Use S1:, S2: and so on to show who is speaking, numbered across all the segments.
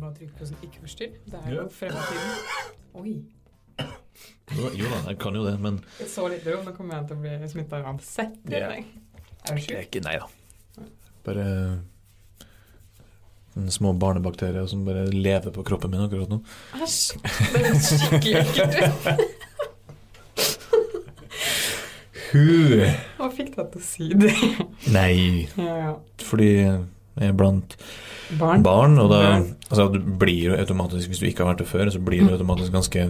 S1: bare trykke på sånn ikke forstyrr. Det er jo fremtiden. Oi.
S2: Jo, jo da, jeg kan jo det, men
S1: Så litt ro, nå kommer jeg til å bli smitta uansett. tror
S2: Ja.
S1: jeg. Er du
S2: det er
S1: sjuk?
S2: ikke nei, da. Bare eh, små barnebakterier som bare lever på kroppen min akkurat nå.
S1: Æsj. Det er skikkelig ekkelt. ut.
S2: Hu!
S1: Hva fikk deg til å si det?
S2: Nei,
S1: Ja, ja.
S2: fordi jeg er blant
S1: Barn?
S2: barn, og da
S1: Barn. Mm.
S2: altså, du blir jo automatisk Hvis du ikke har vært det før, så blir du automatisk ganske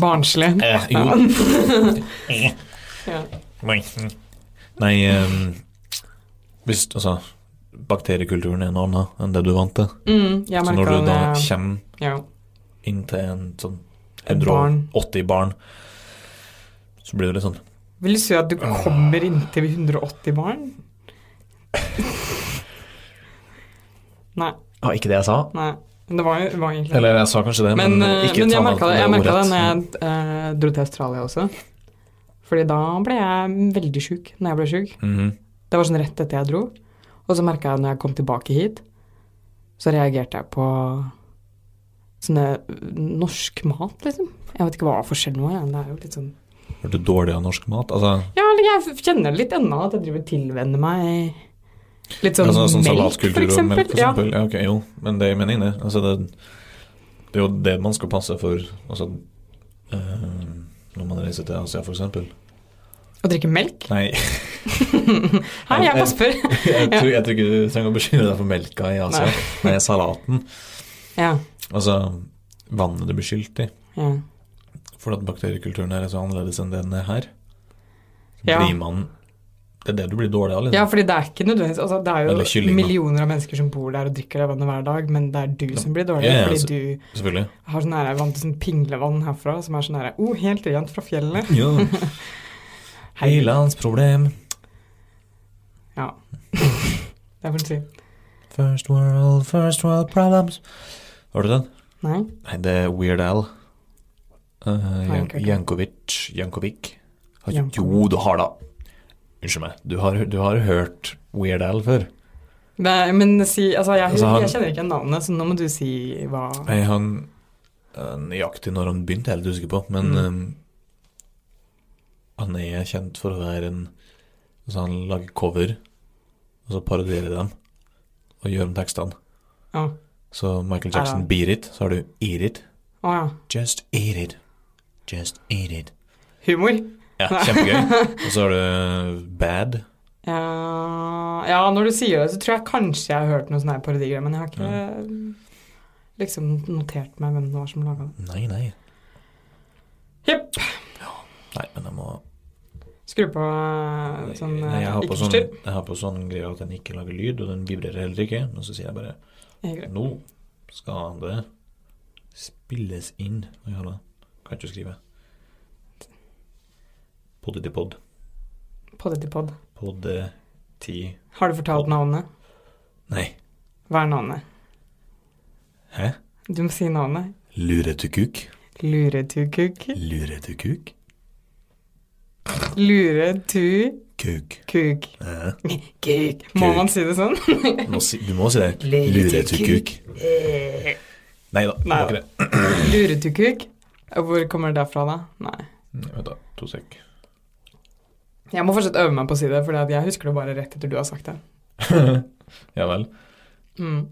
S1: Barnslig.
S2: eh, jo. Eh.
S1: Ja.
S2: Nei, Nei eh, hvis, altså, bakteriekulturen er noe annet enn det du er vant til.
S1: Mm, jeg
S2: Så når
S1: merka
S2: du da
S1: det.
S2: kommer
S1: eh, Ja.
S2: inn til en sånn
S1: Et barn.
S2: 180 barn, så blir det litt sånn
S1: Vil du si at du
S2: Ah.
S1: kommer inntil 180 barn? Nei.
S2: Ja, Ah, ikke det jeg sa.
S1: nei. Men det var, jo- det var egentlig
S2: Eller jeg sa kanskje det, men,
S1: Men, eh,
S2: ikke
S1: men
S2: ta
S1: jeg
S2: meg
S1: merka det, jeg
S2: ordet.
S1: merket det når jeg eh, dro til Australia også. Fordi da ble jeg veldig sjuk når jeg ble sjuk.
S2: Mhm.
S1: Det var sånn rett etter jeg dro. Og så merka jeg når jeg kom tilbake hit, så reagerte jeg på sånne eh, norsk mat, liksom. Jeg vet ikke hva forskjellen var, jeg. Det er jo litt sånn
S2: Ble du dårlig av norsk mat? Altså,
S1: Ja, eller jeg kjenner det litt ennå, at jeg driver og tilvenner meg litt sånn,
S2: altså, sånn
S1: melk,
S2: salatkultur
S1: for
S2: og sånn.
S1: eksempel.
S2: melk, for eksempel. Ja. ok, jo, men det jeg mener inne altså, det, det er jo det man skal passe for altså, eh, når man reiser til Asia, for eksempel.
S1: Ja. Å drikke melk?
S2: Nei,
S1: Hei, jeg bare spør.
S2: jeg tror, jeg tror ikke du trenger å bekymre deg for melka i Asia. Nei, salaten.
S1: Ja,
S2: Altså vannet det blir skylt i.
S1: ja.
S2: For at bakteriekulturen her er så annerledes enn den er her. Så
S1: Ja.
S2: blir man Det er det du blir dårlig av,
S1: ja,
S2: liksom.
S1: fordi det er ikke nødvendigvis altså, Det
S2: Eller
S1: er jo
S2: kylling, da.
S1: millioner av mennesker som bor der og drikker det vannet hver dag, men det er du som blir dårlig
S2: Ja, ja, altså-
S1: fordi du
S2: Selvfølgelig.
S1: har sånn her vant til sånn pinglevann herfra som er sånn her oh, helt rent fra fjellet.
S2: Ja.
S1: Hei.
S2: Hele hans problem.
S1: Ja. det får en si.
S2: First world, first world problems. Har du den?
S1: Nei?
S2: Nei, det er Weird Al. Uh,
S1: Har jeg ikke hørt om.
S2: Jankovic Jankovic. Har ikke-
S1: Jankovic.
S2: Jo, du har da Unnskyld meg. Du har, du har hørt Weird Al før?
S1: Nei, Men si Altså, jeg,
S2: Altså, han-
S1: jeg kjenner ikke igjen navnet, så nå må du si hva
S2: Nei, han eh, Nøyaktig når han begynte, jeg er litt usikker på, men
S1: Mm.
S2: eh, han er kjent for å være en Altså, han lager cover, og så parodierer dem, og gjør om tekstene.
S1: Å ja.
S2: Så Michael Jackson
S1: Ja.
S2: beat it, så har du eat it.
S1: Å, ja.
S2: Just eat it. Just eat it.
S1: Humor.
S2: Ja, kjempegøy. Og så har du eh, bad.
S1: Ja, ja, når du sier det, så tror jeg kanskje jeg har hørt noen sånne her parodier, men jeg har ikke
S2: Mm.
S1: liksom notert meg hvem det var som laga det.
S2: Nei, nei.
S1: Jepp.
S2: Nei, men jeg må
S1: Skru på eh, sånn
S2: nei, jeg, har på
S1: ikke
S2: sånn,
S1: forstyrr.
S2: jeg har på sånn greie at den ikke lager lyd, og den vibrerer heller ikke. Men så sier jeg bare
S1: Det er greit.
S2: Nå skal det spilles inn. Hva gjør det? Kan ikke skrive. Poddetipod.
S1: Poddetipod.
S2: Poddeti...
S1: Har du fortalt navnet?
S2: Nei.
S1: Hva er navnet?
S2: Hæ?
S1: Du må si navnet.
S2: Luretukuk?
S1: Luretukuk.
S2: Luretukuk?
S1: Luretukuk.
S2: Kuk. Eh,
S1: Kuk. Må
S2: Kuk.
S1: man si det sånn?
S2: nå si- Du må si det. Luretukuk. Nei da. det var
S1: Nei.
S2: ikke det.
S1: Luretukuk. Hvor kommer det fra, da? Nei.
S2: Nei, Mm, Vent, da. To sek.
S1: Jeg må fortsatt øve meg på å si det, for jeg husker det bare rett etter du har sagt det.
S2: ja vel.
S1: Mm.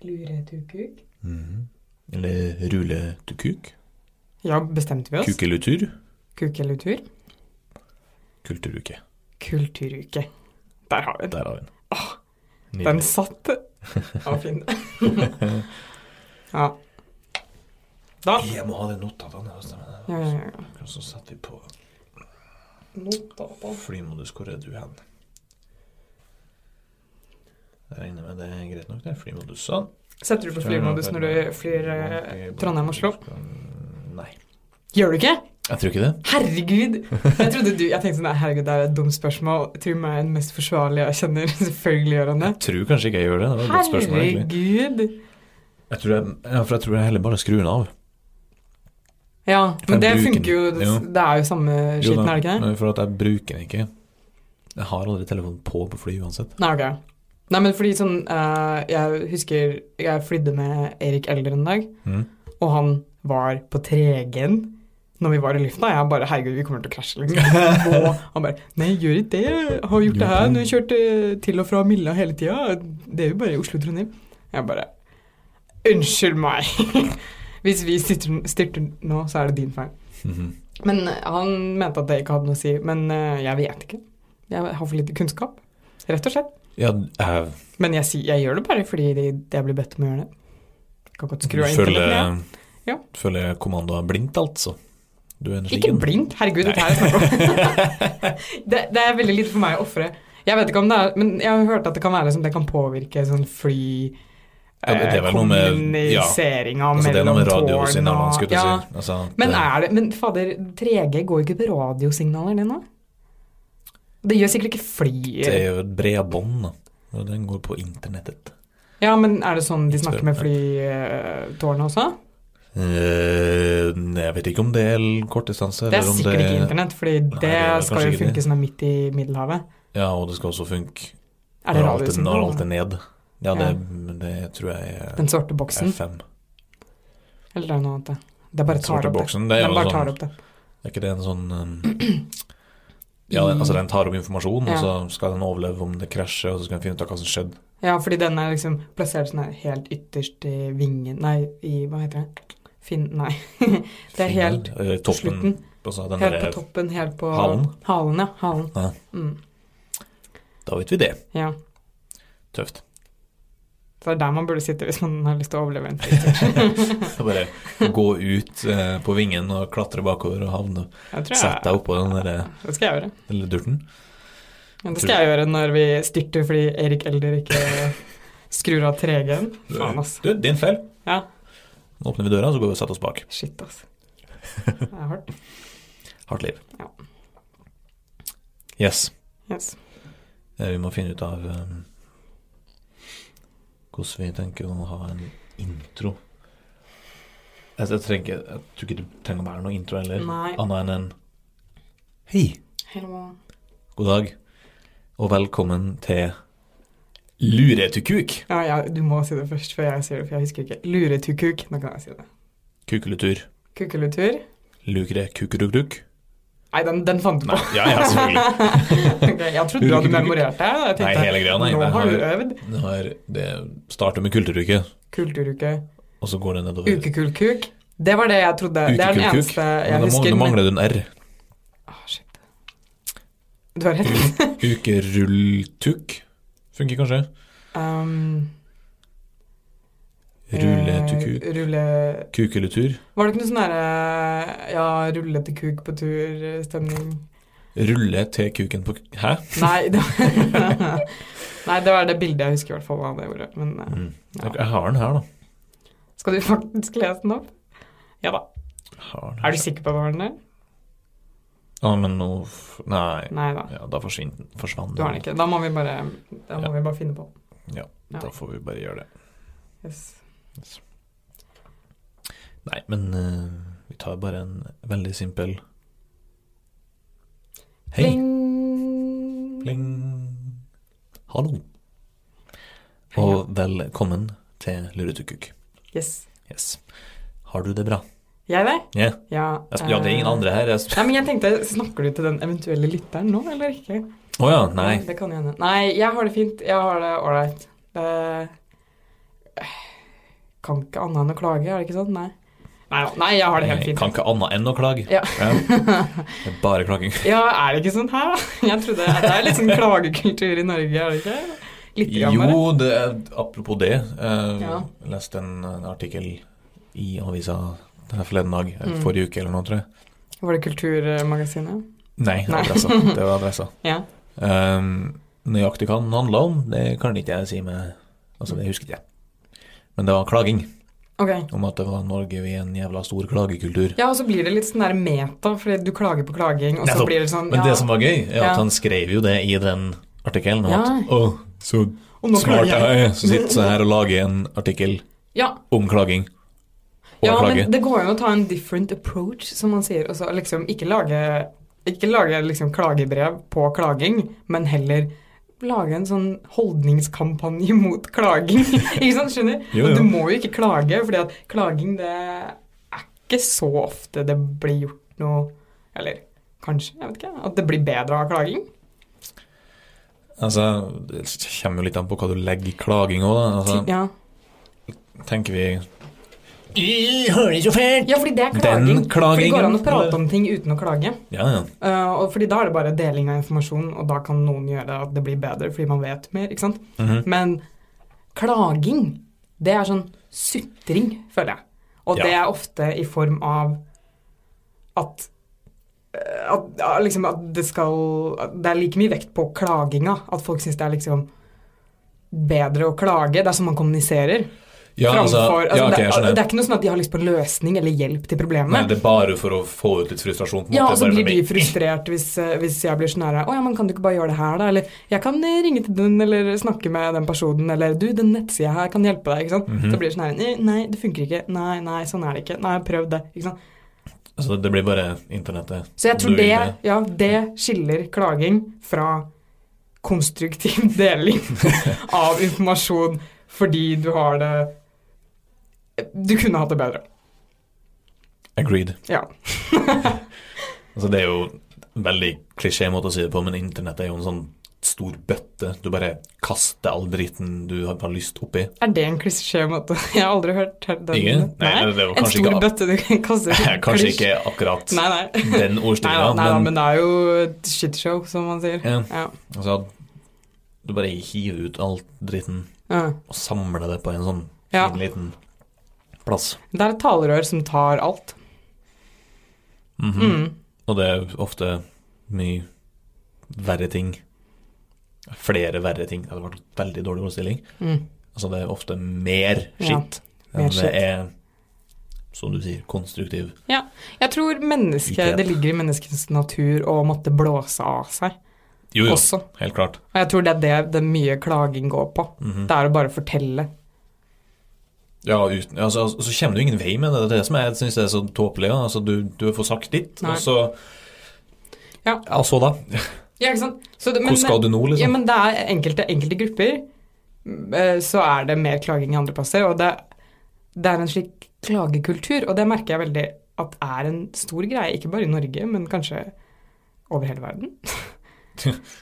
S1: Luretukuk?
S2: Mhm. Eller ruletukuk.
S1: Ja, bestemte vi oss.
S2: Kukelutur.
S1: Kuk eller tur?
S2: Kulturuke.
S1: Kulturuke. Der har vi den.
S2: Der har vi den.
S1: Den
S2: Nydelig.
S1: satt. Den var fin. ja. Da.
S2: Jeg må ha det notatene. altså.
S1: Ja, ja, ja.
S2: Og så setter vi på
S1: Notater.
S2: flymodus. Hvor er du hen? Jeg regner med det er greit nok, det. er Flymodus. Sånn.
S1: Setter du på flymodus når du flyr eh, Trondheim-Oslo?
S2: Nei.
S1: Gjør du ikke?
S2: Jeg tror ikke det.
S1: Herregud! Jeg trodde du, jeg tenkte sånn, nei, herregud, det er et dumt spørsmål. Tror meg er den mest forsvarlige jeg kjenner. Selvfølgelig gjør han det.
S2: Jeg tror kanskje ikke jeg gjør det. Det var et godt spørsmål, egentlig.
S1: Herregud!
S2: Jeg tror jeg, ja, for jeg tror jeg heller bare skrur den av.
S1: Ja,
S2: Jeg
S1: men det
S2: bruker
S1: funker jo.
S2: den.
S1: Det,
S2: Jo.
S1: det er jo samme
S2: Jo
S1: skitten,
S2: da,
S1: er det ikke det?
S2: men For at jeg bruker den ikke. Jeg har aldri telefonen på på fly uansett.
S1: Nei, ok. Nei, men fordi sånn eh, Jeg husker jeg flydde med Erik Elder en dag,
S2: Mm.
S1: og han var på 3G-en når vi var i lufta. Jeg bare Herregud, vi kommer til å krasje, liksom. Og han bare Nei, gjør ikke det. Jeg har gjort det her. Nå har jeg kjørt eh, til og fra Milla hele tida. Det er jo bare Oslo-Trondheim. Jeg bare Unnskyld meg. Hvis vi styrter, styrter nå, så er det din feil.
S2: Mhm.
S1: Men eh, han mente at det ikke hadde noe å si. Men eh, jeg vet ikke. Jeg har for lite kunnskap, rett og slett.
S2: Ja, jeg
S1: Men jeg, sier- jeg gjør det bare fordi det, det jeg blir bedt om å gjøre det. Jeg kan godt skru av internettet.
S2: følger,
S1: Ja.
S2: følger kommandoen blindt, altså. Du er en
S1: Ikke
S2: slik en.
S1: blink! Herregud, dette her er snakk om det, det er veldig lite for meg å ofre. Jeg vet ikke om det er Men jeg har hørt at det kan være liksom, det kan påvirke sånn fly
S2: Ja, det er vel noe med- ja.
S1: Kommuniseringa
S2: Altså, det er noe
S1: mellom
S2: med
S1: tårn
S2: radiosignalene,
S1: og
S2: skulle jeg
S1: ja.
S2: til å si. Altså,
S1: Men
S2: det-
S1: er det Men fader, 3G går jo ikke på radiosignaler, det nå? Det gjør sikkert ikke
S2: Det
S1: fly
S2: er jo et bredbånd, da. Og den går på internettet.
S1: Ja, men er det sånn de snakker med flytårnet også?
S2: Eh, jeg vet ikke om det er kortdistanse.
S1: Det er
S2: eller om
S1: sikkert ikke internett, fordi
S2: det
S1: det
S2: er vel
S1: skal
S2: kanskje
S1: jo
S2: ikke
S1: funke
S2: det.
S1: som er midt i Middelhavet.
S2: Ja, og det skal også funke
S1: Er det
S2: når alt er- når alt er
S1: radiosignalet?
S2: ned. Ja,
S1: Ja.
S2: det, men det tror jeg er
S1: Den svarte boksen?
S2: FM.
S1: Eller er det noe annet? det? Det bare tar
S2: Svarte
S1: opp det.
S2: boksen, det er,
S1: Den
S2: jo
S1: bare tar
S2: sånn,
S1: opp det.
S2: er ikke det en sånn um, Ja, den, altså den tar opp informasjon,
S1: Mm. Ja.
S2: og så skal den overleve om det krasjer, og så skal den finne ut av hva som skjedde.
S1: Ja, fordi den er liksom plassert sånn her helt ytterst i vingen Nei, i hva heter det? Fin... Nei. Det er helt
S2: Fingeren, eller
S1: På
S2: toppen,
S1: slutten.
S2: altså den
S1: Helt på
S2: der-
S1: toppen, helt på
S2: halen?
S1: Halen, ja. Halen.
S2: Ja.
S1: Mm,
S2: Da vet vi det.
S1: ja.
S2: Tøft.
S1: Så det er der man burde sitte hvis man har lyst til å overleve en
S2: Så Bare gå ut eh, på vingen og klatre bakover og havne
S1: Jeg tror
S2: Sett
S1: jeg
S2: deg oppå den der
S1: Det skal jeg gjøre.
S2: lille durten.
S1: Ja, Det skal jeg gjøre når vi styrter fordi Erik Elder ikke skrur av 3G-en. Faen, ass.
S2: Du, din feil.
S1: Ja.
S2: Nå åpner vi døra, så går vi og setter oss bak.
S1: Shit, ass. Det er hardt.
S2: Hardt liv.
S1: Ja.
S2: Yes.
S1: Yes.
S2: Eh, Vi må finne ut av eh, hvordan vi tenker å ha en intro. Jeg, jeg, trenger, ikke- jeg tror ikke det trenger å være noen intro heller,
S1: Nei.
S2: annet enn en Hei,
S1: Hello.
S2: god dag, og velkommen til Luretukuk.
S1: Ja, ja, du må si det først før jeg sier det, for jeg husker ikke. Luretukuk. Nå kan jeg si det.
S2: Kukeletur.
S1: Kukkelutur.
S2: Lukre kukurukduk.
S1: Nei, den, den fant du på.
S2: Nei, ja, ja, selvfølgelig.
S1: Ok, jeg trodde du hadde memorert det. og Jeg
S2: Nei,
S1: tenkte,
S2: hele greia, nei.
S1: Nå
S2: Det
S1: har du
S2: har-
S1: øvd.
S2: Det, har, det starter med kulturuke,
S1: Kulturuke.
S2: og så går det nedover.
S1: Ukekulkuk. Det var det jeg trodde. Det er den
S2: Ukekulkuk.
S1: eneste jeg
S2: Men da
S1: husker.
S2: mangler, mangler du en R.
S1: Åh, shit. Du har rett.
S2: Ukerulltukk funker kanskje. Mm.
S1: Um,
S2: Rulletukuk.
S1: eh, Rulle...
S2: Kukeletur.
S1: Var det ikke noe sånn derre ja, rulle til kuk på tur-stemning?
S2: Rulle til kuken på k- Hæ?
S1: Nei, det var, Nei, det var det bildet jeg husker i hvert fall hva det gjorde. Men eh,
S2: Mm.
S1: Ja.
S2: Jeg har den her, da.
S1: skal du faktisk lese den opp? Ja da.
S2: Jeg Har den her.
S1: Er du sikker på at det var den der?
S2: Ja, men nå f- Nei.
S1: Nei da.
S2: Ja, da forsvinner den. Forsvant
S1: Du har den ikke. Da må vi bare, da må
S2: Ja.
S1: vi bare finne på den. Ja.
S2: Da får vi bare gjøre det.
S1: Yes.
S2: Nei, men eh, vi tar bare en veldig simpel Hei.
S1: Pling.
S2: Pling. Hallo. Og velkommen til Luretukuk.
S1: Yes.
S2: Yes. Har du det bra?
S1: Jeg det?
S2: Ja.
S1: Ja,
S2: Jeg sp- Ja, det er ingen
S1: eh,
S2: andre her. jeg sp-
S1: Nei, men jeg tenkte, Snakker du til den eventuelle lytteren nå, eller ikke?
S2: Å ja, nei.
S1: Det kan jo hende. Nei, jeg har det fint. Jeg har det ålreit. Eh, Kan ikke annet enn å klage, er det ikke sånn? Nei. Nei, da. nei jeg har det helt
S2: Jeg
S1: fint.
S2: Kan ikke annet enn å klage.
S1: Ja.
S2: Det er bare klaging.
S1: Ja, er det ikke sånn her, da? Jeg trodde Det er litt sånn klagekultur i Norge, er det ikke? Litt grann bare.
S2: Jo, det er, apropos det. Jeg
S1: Ja.
S2: leste en eh, artikkel i avisa denne forleden dag, eh,
S1: Mm.
S2: forrige uke eller noe, tror jeg.
S1: Var det Kulturmagasinet?
S2: Nei,
S1: Nei.
S2: adressa. Det var adressa.
S1: Ja.
S2: Ehm, nøyaktig hva den handla om, det kan ikke jeg si med Altså, det husker ikke jeg. Men det var klaging.
S1: Ok.
S2: Om at det var Norge i en jævla stor klagekultur.
S1: Ja, og så blir det litt sånn der meta, fordi du klager på klaging, og så
S2: Nettopp.
S1: blir det sånn
S2: Men
S1: ja,
S2: det som var gøy, er at
S1: Ja.
S2: han skrev jo det i den artikkelen. om
S1: Ja.
S2: at, Å, så
S1: og nå klager
S2: smart
S1: jeg.
S2: jeg er som sitter så her og lager en artikkel
S1: Ja.
S2: om klaging. på
S1: ja,
S2: flagget.
S1: men det går jo å ta en different approach, som man sier. Og så liksom ikke lage, ikke lage liksom klagebrev på klaging, men heller lage en sånn holdningskampanje mot klaging. ikke sant, skjønner?
S2: Jo,
S1: Og du
S2: jo.
S1: må jo ikke klage, fordi at klaging det er ikke så ofte det blir gjort noe Eller kanskje, jeg vet ikke. At det blir bedre av klaging.
S2: Altså, det kommer jo litt an på hva du legger i klaging òg, da. Altså,
S1: Ja.
S2: tenker vi I har det så fælt!
S1: ja, fordi det er klaging.
S2: Den
S1: For det
S2: klagingen.
S1: går an å prate om ting uten å klage.
S2: Ja, ja.
S1: Eh, og fordi da er det bare deling av informasjon, og da kan noen gjøre at det blir bedre fordi man vet mer, ikke sant?
S2: Mhm.
S1: Men klaging, det er sånn sutring, føler jeg. Og
S2: Ja.
S1: det er ofte i form av at eh, at, ja, liksom at det skal at Det er like mye vekt på klaginga. At folk syns det er liksom bedre å klage. Det er sånn man kommuniserer.
S2: ja altså,
S1: framfor altså,
S2: ja, ok,
S1: det,
S2: jeg
S1: er,
S2: skjønner.
S1: det er ikke noe sånn at de har lyst på en løsning eller hjelp til problemet.
S2: Nei, det er bare for å få ut litt frustrasjon. På en
S1: Ja,
S2: måte.
S1: og så
S2: Bare
S1: blir
S2: for
S1: de
S2: meg.
S1: frustrert hvis, eh, hvis jeg blir sånn her Å ja, men kan du ikke bare gjøre det her, da? Eller jeg kan eh, ringe til den, eller snakke med den personen, eller du, den nettsida her kan hjelpe deg, ikke sant?
S2: Mhm.
S1: Så blir det sånn her «Nei, Nei, det funker ikke. Nei, nei, sånn er det ikke. Nei, prøv det. Ikke sant?
S2: Altså, det blir bare internettet.
S1: Så jeg tror
S2: Du vil
S1: det, ja, det skiller klaging fra konstruktiv deling av informasjon fordi du har det Du kunne hatt det bedre.
S2: Agreed.
S1: Ja.
S2: Altså, det er jo en veldig klisjé måte å si det på, men internett er jo en sånn stor bøtte. Du bare kaster all driten du har har lyst oppi.
S1: Er det en klisjémåte? Jeg har aldri hørt den.
S2: Ikke? Nei,
S1: Nei?
S2: det er jo
S1: En
S2: kanskje
S1: stor
S2: ikke,
S1: bøtte du kan kaste ut.
S2: kanskje ikke akkurat
S1: Nei, nei.
S2: den
S1: Nei, da,
S2: ordstillingen,
S1: nei da,
S2: men,
S1: men det er jo et shitshow, som man sier.
S2: ja,
S1: Ja.
S2: altså, du bare hiver ut all dritten
S1: Ja.
S2: og samler det på en sånn fin
S1: Ja.
S2: liten plass.
S1: Det er et talerør som tar alt.
S2: Mhm.
S1: Mm.
S2: Og det er ofte mye verre ting. Flere verre ting. Det hadde vært veldig dårlig ordstilling.
S1: Mm.
S2: Altså det er ofte mer
S1: Ja,
S2: skitt
S1: mer
S2: enn det
S1: skitt.
S2: er, som du sier, konstruktiv.
S1: Jeg tror mennesket,
S2: Ikke.
S1: det ligger i menneskets natur å måtte blåse av seg
S2: Jo, jo,
S1: også.
S2: helt klart.
S1: Og jeg tror det er det det mye klaging går på.
S2: Mhm.
S1: Det er å bare fortelle.
S2: Ja, uten, altså, altså, så kommer du ingen vei med det. Det er det som jeg syns er så tåpelig. ja. Altså, du, du får sagt ditt,
S1: Nei.
S2: og så
S1: Ja.
S2: så da?
S1: Ja, ikke sant? Så det- men-
S2: Hvor skal du nå,
S1: Ja,
S2: liksom?
S1: men det er enkelte, enkelte grupper mm, eh, så er det mer klaging i andre plasser, og det, det er en slik klagekultur, og det merker jeg veldig at er en stor greie, ikke bare i Norge, men kanskje over hele verden.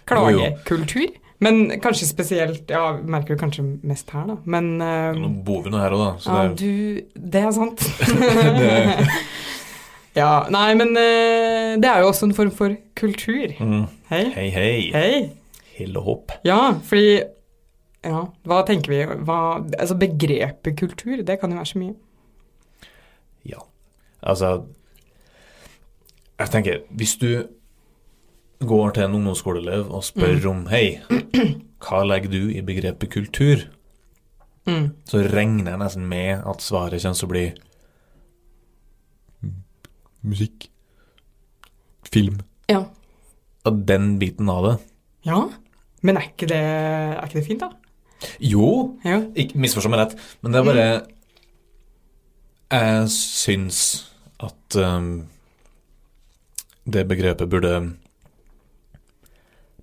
S1: Klagekultur, men kanskje spesielt, ja, merker du kanskje mest her da, men... eh,
S2: Nå bor vi nå her òg, da. Så
S1: ja,
S2: det,
S1: du Det er sant.
S2: Det-
S1: ja, nei, men eh, det er jo også en form for kultur.
S2: mm.
S1: Hei.
S2: Hei, hei.
S1: Hei.
S2: Hill og hopp.
S1: Ja, fordi Ja, hva tenker vi? Hva, altså begrepet kultur, det kan jo være så mye.
S2: Ja. Altså Jeg tenker, hvis du går til en ungdomsskoleelev og spør
S1: Mm.
S2: om Hei, hva legger du i begrepet kultur?
S1: Mm.
S2: Så regner jeg nesten med at svaret kommer til å bli Musikk. Film.
S1: Ja.
S2: Og den biten av det.
S1: Ja, men er ikke det, er ikke det fint, da?
S2: Jo,
S1: Jo.
S2: Ikke misforstå meg rett, men det er bare
S1: Mm.
S2: Jeg syns at um, det begrepet burde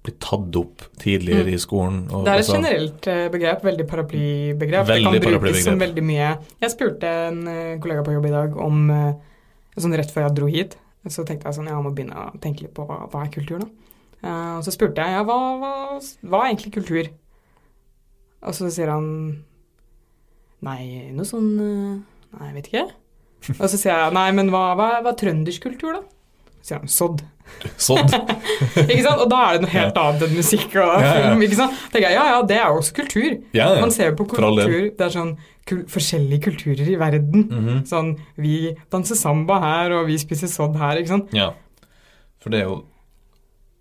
S2: bli tatt opp tidligere i skolen. og-
S1: Mm. Det er et
S2: altså,
S1: generelt eh, begrep, veldig paraplybegrep. Det kan
S2: Veldig
S1: brukes som
S2: paraplybegrep.
S1: veldig mye Jeg spurte en eh, kollega på jobb i dag om eh, Sånn rett før jeg dro hit, så tenkte jeg sånn Ja, jeg må begynne å tenke litt på hva, hva er kultur, da? Eh, og så spurte jeg ja, hva, hva, hva er egentlig kultur? Og så sier han Nei, noe sånn eh, Nei, jeg vet ikke. Og så sier jeg nei, men hva, hva, hva er trøndersk kultur, da? Så sier han sodd.
S2: Sånn.
S1: Ikke sant? Og da er det noe helt annet enn musikk og
S2: Ja, ja.
S1: film. ikke sant? tenker jeg, Ja, ja, det er jo også kultur.
S2: Ja, ja.
S1: Man ser jo på
S2: For all del.
S1: kultur Det er sånn kul forskjellige kulturer i verden.
S2: Mhm,
S1: Sånn Vi danser samba her, og vi spiser sodd her, ikke sant.
S2: ja. For det er jo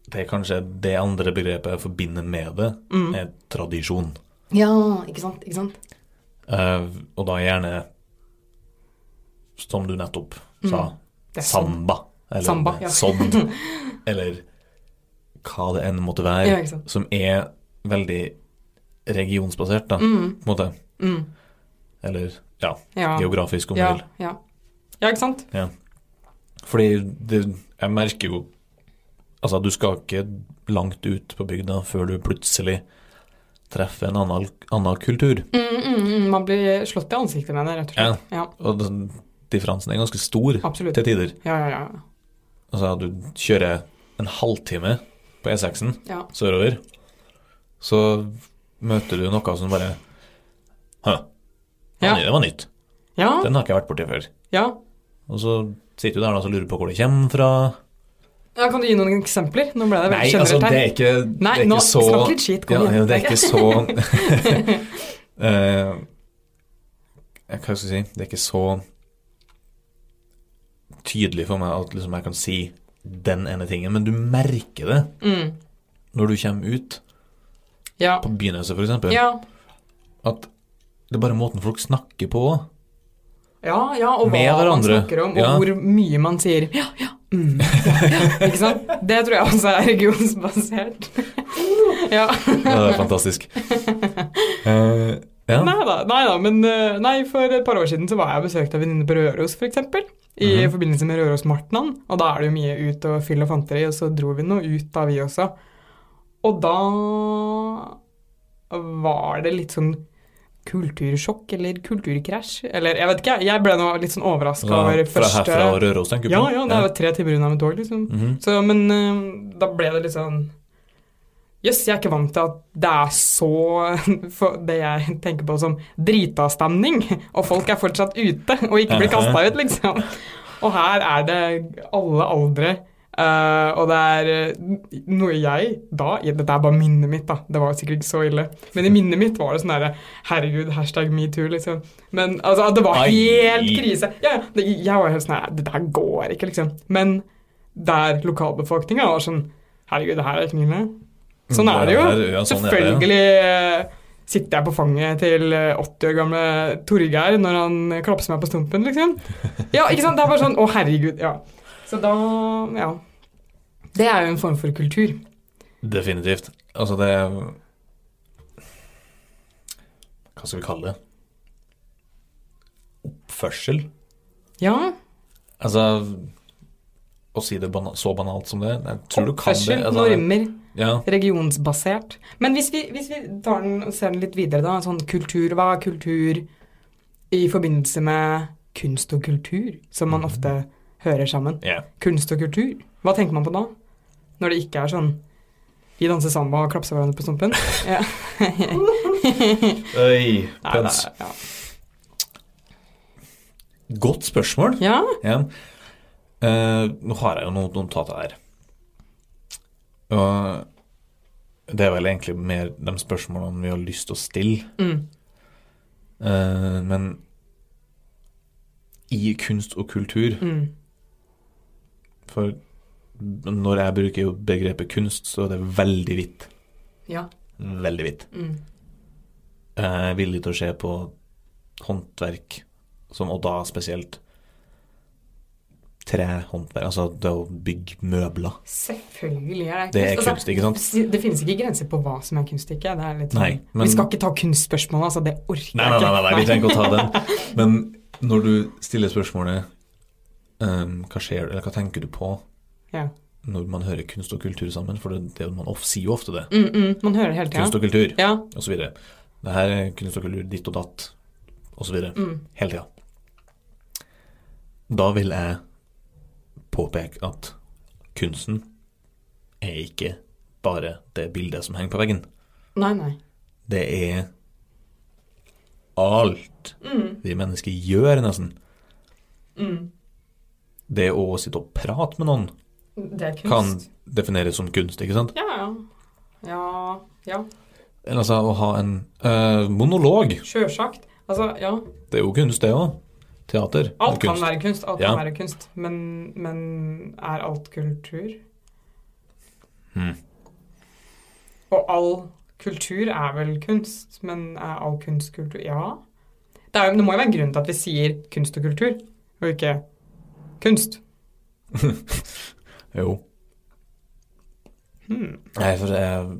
S2: Det er kanskje det andre begrepet jeg forbinder med det,
S1: Mm.
S2: er tradisjon.
S1: Ja, ikke sant. Ikke sant?
S2: Eh, og da gjerne, som du nettopp sa,
S1: Mm. Det er sånn.
S2: Samba. Eller
S1: Samba, ja.
S2: sodd. Eller hva det enn måtte være.
S1: Ja, ikke sant.
S2: Som er veldig regionsbasert, da,
S1: Mm,
S2: på en måte.
S1: mm,
S2: Eller ja,
S1: ja.
S2: geografisk, om du
S1: Ja,
S2: vil.
S1: ja. Ja, ikke sant?
S2: Fordi det, jeg merker jo Altså, du skal ikke langt ut på bygda før du plutselig treffer en annen, annen kultur.
S1: Mm, mm, mm, man blir slått i ansiktet med det, rett og slett. Ja.
S2: Og den differansen er ganske stor
S1: absolutt.
S2: til tider.
S1: Ja, ja, ja.
S2: Altså, du kjører en halvtime på E6-en
S1: Ja.
S2: sørover, så møter du noe som bare Hø, det
S1: Ja.
S2: var ny- det var nytt.
S1: Ja,
S2: Den har ikke jeg vært borti før.
S1: ja.
S2: Og så sitter du der da, og lurer på hvor det kommer
S1: ja.
S2: fra.
S1: Kan du gi noen eksempler? Nå ble det
S2: Nei,
S1: veldig
S2: altså,
S1: generelt
S2: det
S1: her.
S2: er ikke,
S1: Nei,
S2: det er
S1: nå
S2: ikke så
S1: snakk litt skit.
S2: Ja,
S1: Kom
S2: ja,
S1: igjen.
S2: det er ikke så Eh, Hva skal jeg si Det er ikke så tydelig for meg at liksom jeg kan si den ene tingen, men du merker det
S1: Mm.
S2: når du kommer ut
S1: Ja.
S2: på begynnelse, f.eks. eksempel
S1: Ja.
S2: At det er bare måten folk snakker på.
S1: ja, ja, og hva
S2: Med
S1: man
S2: hverandre.
S1: snakker om, og
S2: Ja.
S1: hvor mye man sier ja, ja, mm, ja, ja. Ikke sant? Det tror jeg også er regionsbasert. ja.
S2: Ja, Det er fantastisk. Eh, ja.
S1: Nei da, nei da, men eh, nei, for et par år siden så var jeg besøkt av en venninne på Røros, f.eks. I
S2: Mhm.
S1: forbindelse med Rørosmartnan, og da er det jo mye ut og fyll og fanteri, og så dro vi nå ut da, vi også. Og da var det litt sånn kultursjokk eller kulturkrasj, eller jeg vet ikke, jeg ble nå litt sånn overraska
S2: Fra,
S1: over
S2: fra
S1: første
S2: herfra og Røros, tenker du
S1: Ja,
S2: på?
S1: ja, det er jo tre timer unna med tog, liksom.
S2: Mhm.
S1: Så, men eh, da ble det litt sånn Jøss, jeg er ikke vant til at det er så for Det jeg tenker på som drita-stemning, og folk er fortsatt ute og ikke blir kasta ut, liksom. Og her er det alle aldre. eh, og det er eh, noe jeg da ja, Dette er bare minnet mitt, da. Det var sikkert ikke så ille. Men i minnet mitt var det sånn derre Herregud, hashtag metoo, liksom. Men altså, det var
S2: Ai.
S1: helt krise. Ja, ja, det, jeg var helt sånn her Det der går ikke, liksom. Men der lokalbefolkninga var sånn Herregud, det her er knivene. Sånn er det jo.
S2: her- ja, sånn Mm, er det, ja.
S1: Selvfølgelig eh, sitter jeg på fanget til eh, 80 år gamle Torgeir når han eh, klapser meg på stumpen, liksom. Ja, ikke sant? Det er bare sånn Å, herregud. Ja. Så da Ja. Det er jo en form for kultur.
S2: Definitivt. Altså, det er Hva skal vi kalle det? Oppførsel?
S1: Ja.
S2: Altså Å si det bana så banalt som det Jeg tror du kan det.
S1: Oppførsel,
S2: Altså,
S1: normer,
S2: ja.
S1: regionsbasert. Men hvis vi, hvis vi tar den og ser den litt videre, da. Sånn kultur Hva er kultur i forbindelse med kunst og kultur, som
S2: Mm.
S1: man ofte hører sammen?
S2: ja.
S1: kunst og kultur. Hva tenker man på da? Når det ikke er sånn vi danser samba og klapser hverandre på stumpen. Ja. Nei,
S2: Øy, pens.
S1: det er- ja.
S2: Godt spørsmål.
S1: ja.
S2: Ja. Eh, nå har jeg jo noen notater her. Og det er vel egentlig mer de spørsmålene vi har lyst til å stille.
S1: Mm.
S2: Eh, men i kunst og kultur
S1: Mm.
S2: For når jeg bruker jo begrepet kunst, så er det veldig hvitt.
S1: Ja.
S2: Veldig hvitt.
S1: Mm.
S2: Jeg er villig til å se på håndverk, som, og da spesielt trehåndverk, altså det å bygge møbler.
S1: Selvfølgelig er det kunst.
S2: Det er
S1: Altså,
S2: kunst, ikke sant?
S1: si- det finnes ikke grenser på hva som er kunst og ikke. Det er litt sånn,
S2: Nei, men-
S1: Vi skal ikke ta kunstspørsmålet, altså. Det orker
S2: Nei, nei,
S1: jeg
S2: nei, nei,
S1: ikke.
S2: nei, vi trenger ikke å ta den. Men når du stiller spørsmålet ehm, hva skjer, eller hva tenker du på
S1: Ja.
S2: når man hører kunst og kultur sammen, for det, det, man of, sier jo ofte det,
S1: Mm, mm, man hører det hele tida.
S2: kunst og kultur,
S1: Ja.
S2: og så videre. Det her er kunst og kultur, ditt og datt, og så videre.
S1: Mm.
S2: Hele tida. Da vil jeg påpeke at kunsten er ikke bare det bildet som henger på veggen.
S1: Nei, nei.
S2: Det er alt
S1: Mm,
S2: vi mennesker gjør, nesten.
S1: mm.
S2: Det å sitte og prate med noen
S1: Det er kunst.
S2: kan defineres som kunst, ikke sant?
S1: Ja, ja. Ja, ja.
S2: Eller altså å ha en øh, monolog.
S1: Sjølsagt. Altså, ja.
S2: Det er jo kunst, det òg. Teater. er
S1: Alt kan
S2: kunst.
S1: være kunst, alt
S2: Ja.
S1: kan være kunst. Men, men er alt kultur?
S2: Mhm.
S1: Og all kultur er vel kunst, men er all kunst kultur? Ja. Det, er, jo- det må jo være en grunn til at vi sier kunst og kultur, og ikke kunst.
S2: Jo.
S1: Hmm.
S2: Nei, for jeg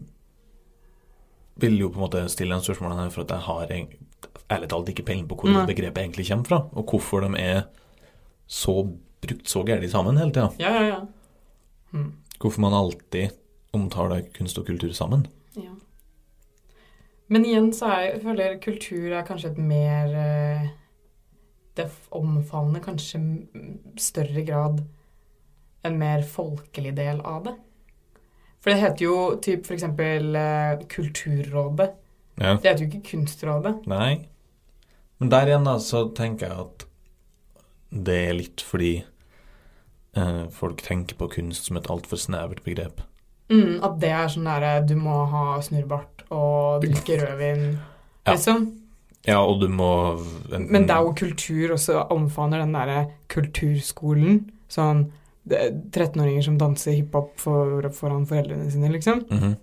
S2: vil jo på en måte stille en spørsmål her, for at jeg har eng- ærlig talt ikke peiling på hvor
S1: Nei.
S2: begrepet egentlig kommer fra, og hvorfor de er så brukt så gærent sammen hele tida.
S1: Ja, ja, ja. Mm.
S2: Hvorfor man alltid omtaler kunst og kultur sammen.
S1: Ja. Men igjen så er, jeg føler jeg kultur er kanskje et mer eh, Det f- omfavner kanskje m- større grad en mer folkelig del av det. For det heter jo typ for eksempel eh, Kulturrådet.
S2: Ja.
S1: Det heter jo ikke Kunstrådet.
S2: Nei. Men der igjen, da, så tenker jeg at det er litt fordi eh, folk tenker på kunst som et altfor snevert begrep.
S1: Mm, at det er sånn derre du må ha snurrbart og drikke rødvin,
S2: Ja.
S1: liksom.
S2: Ja, og du må enten
S1: Men det er jo kultur også omfavner den derre kulturskolen. Sånn det er 13-åringer som danser hiphop for, foran foreldrene sine, liksom.
S2: Mhm.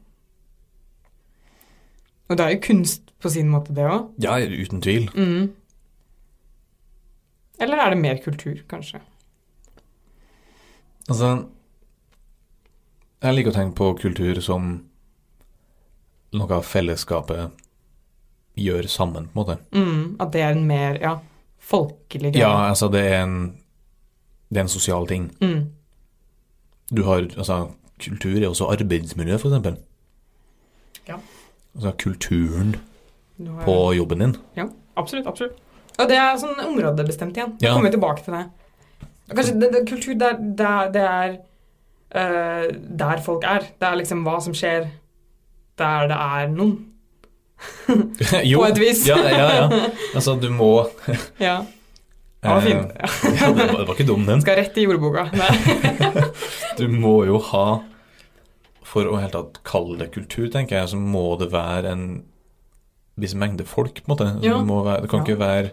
S1: Og det er jo kunst på sin måte, det òg.
S2: Ja, uten tvil.
S1: Mm. Eller er det mer kultur, kanskje?
S2: Altså Jeg liker å tenke på kultur som noe av fellesskapet gjør sammen, på en måte.
S1: Mm, at det er en mer ja, folkelig
S2: Ja,
S1: greie.
S2: altså, det er en Det er en sosial ting.
S1: Mm.
S2: Du har Altså, kultur er også arbeidsmiljø, for eksempel.
S1: Ja.
S2: Altså kulturen
S1: Du har-
S2: på jobben din.
S1: Absolutt. absolutt. Og det er sånn områdebestemt igjen.
S2: Ja.
S1: Da kommer vi tilbake til det. Og Kanskje det, det, kultur, det er, det er, det er eh, der folk er. Det er liksom hva som skjer der det er noen,
S2: jo.
S1: på et vis.
S2: ja, ja, ja. Altså, du må
S1: Ja. Det var fint.
S2: Eh, ja, det, var, det var ikke dum, den.
S1: Skal rett i jordboka. Nei.
S2: Du må jo ha For å helt tatt kalle det kultur, tenker jeg, så må det være en viss mengde folk, på en måte. Altså,
S1: Ja.
S2: Det, må være, det kan
S1: Ja.
S2: ikke være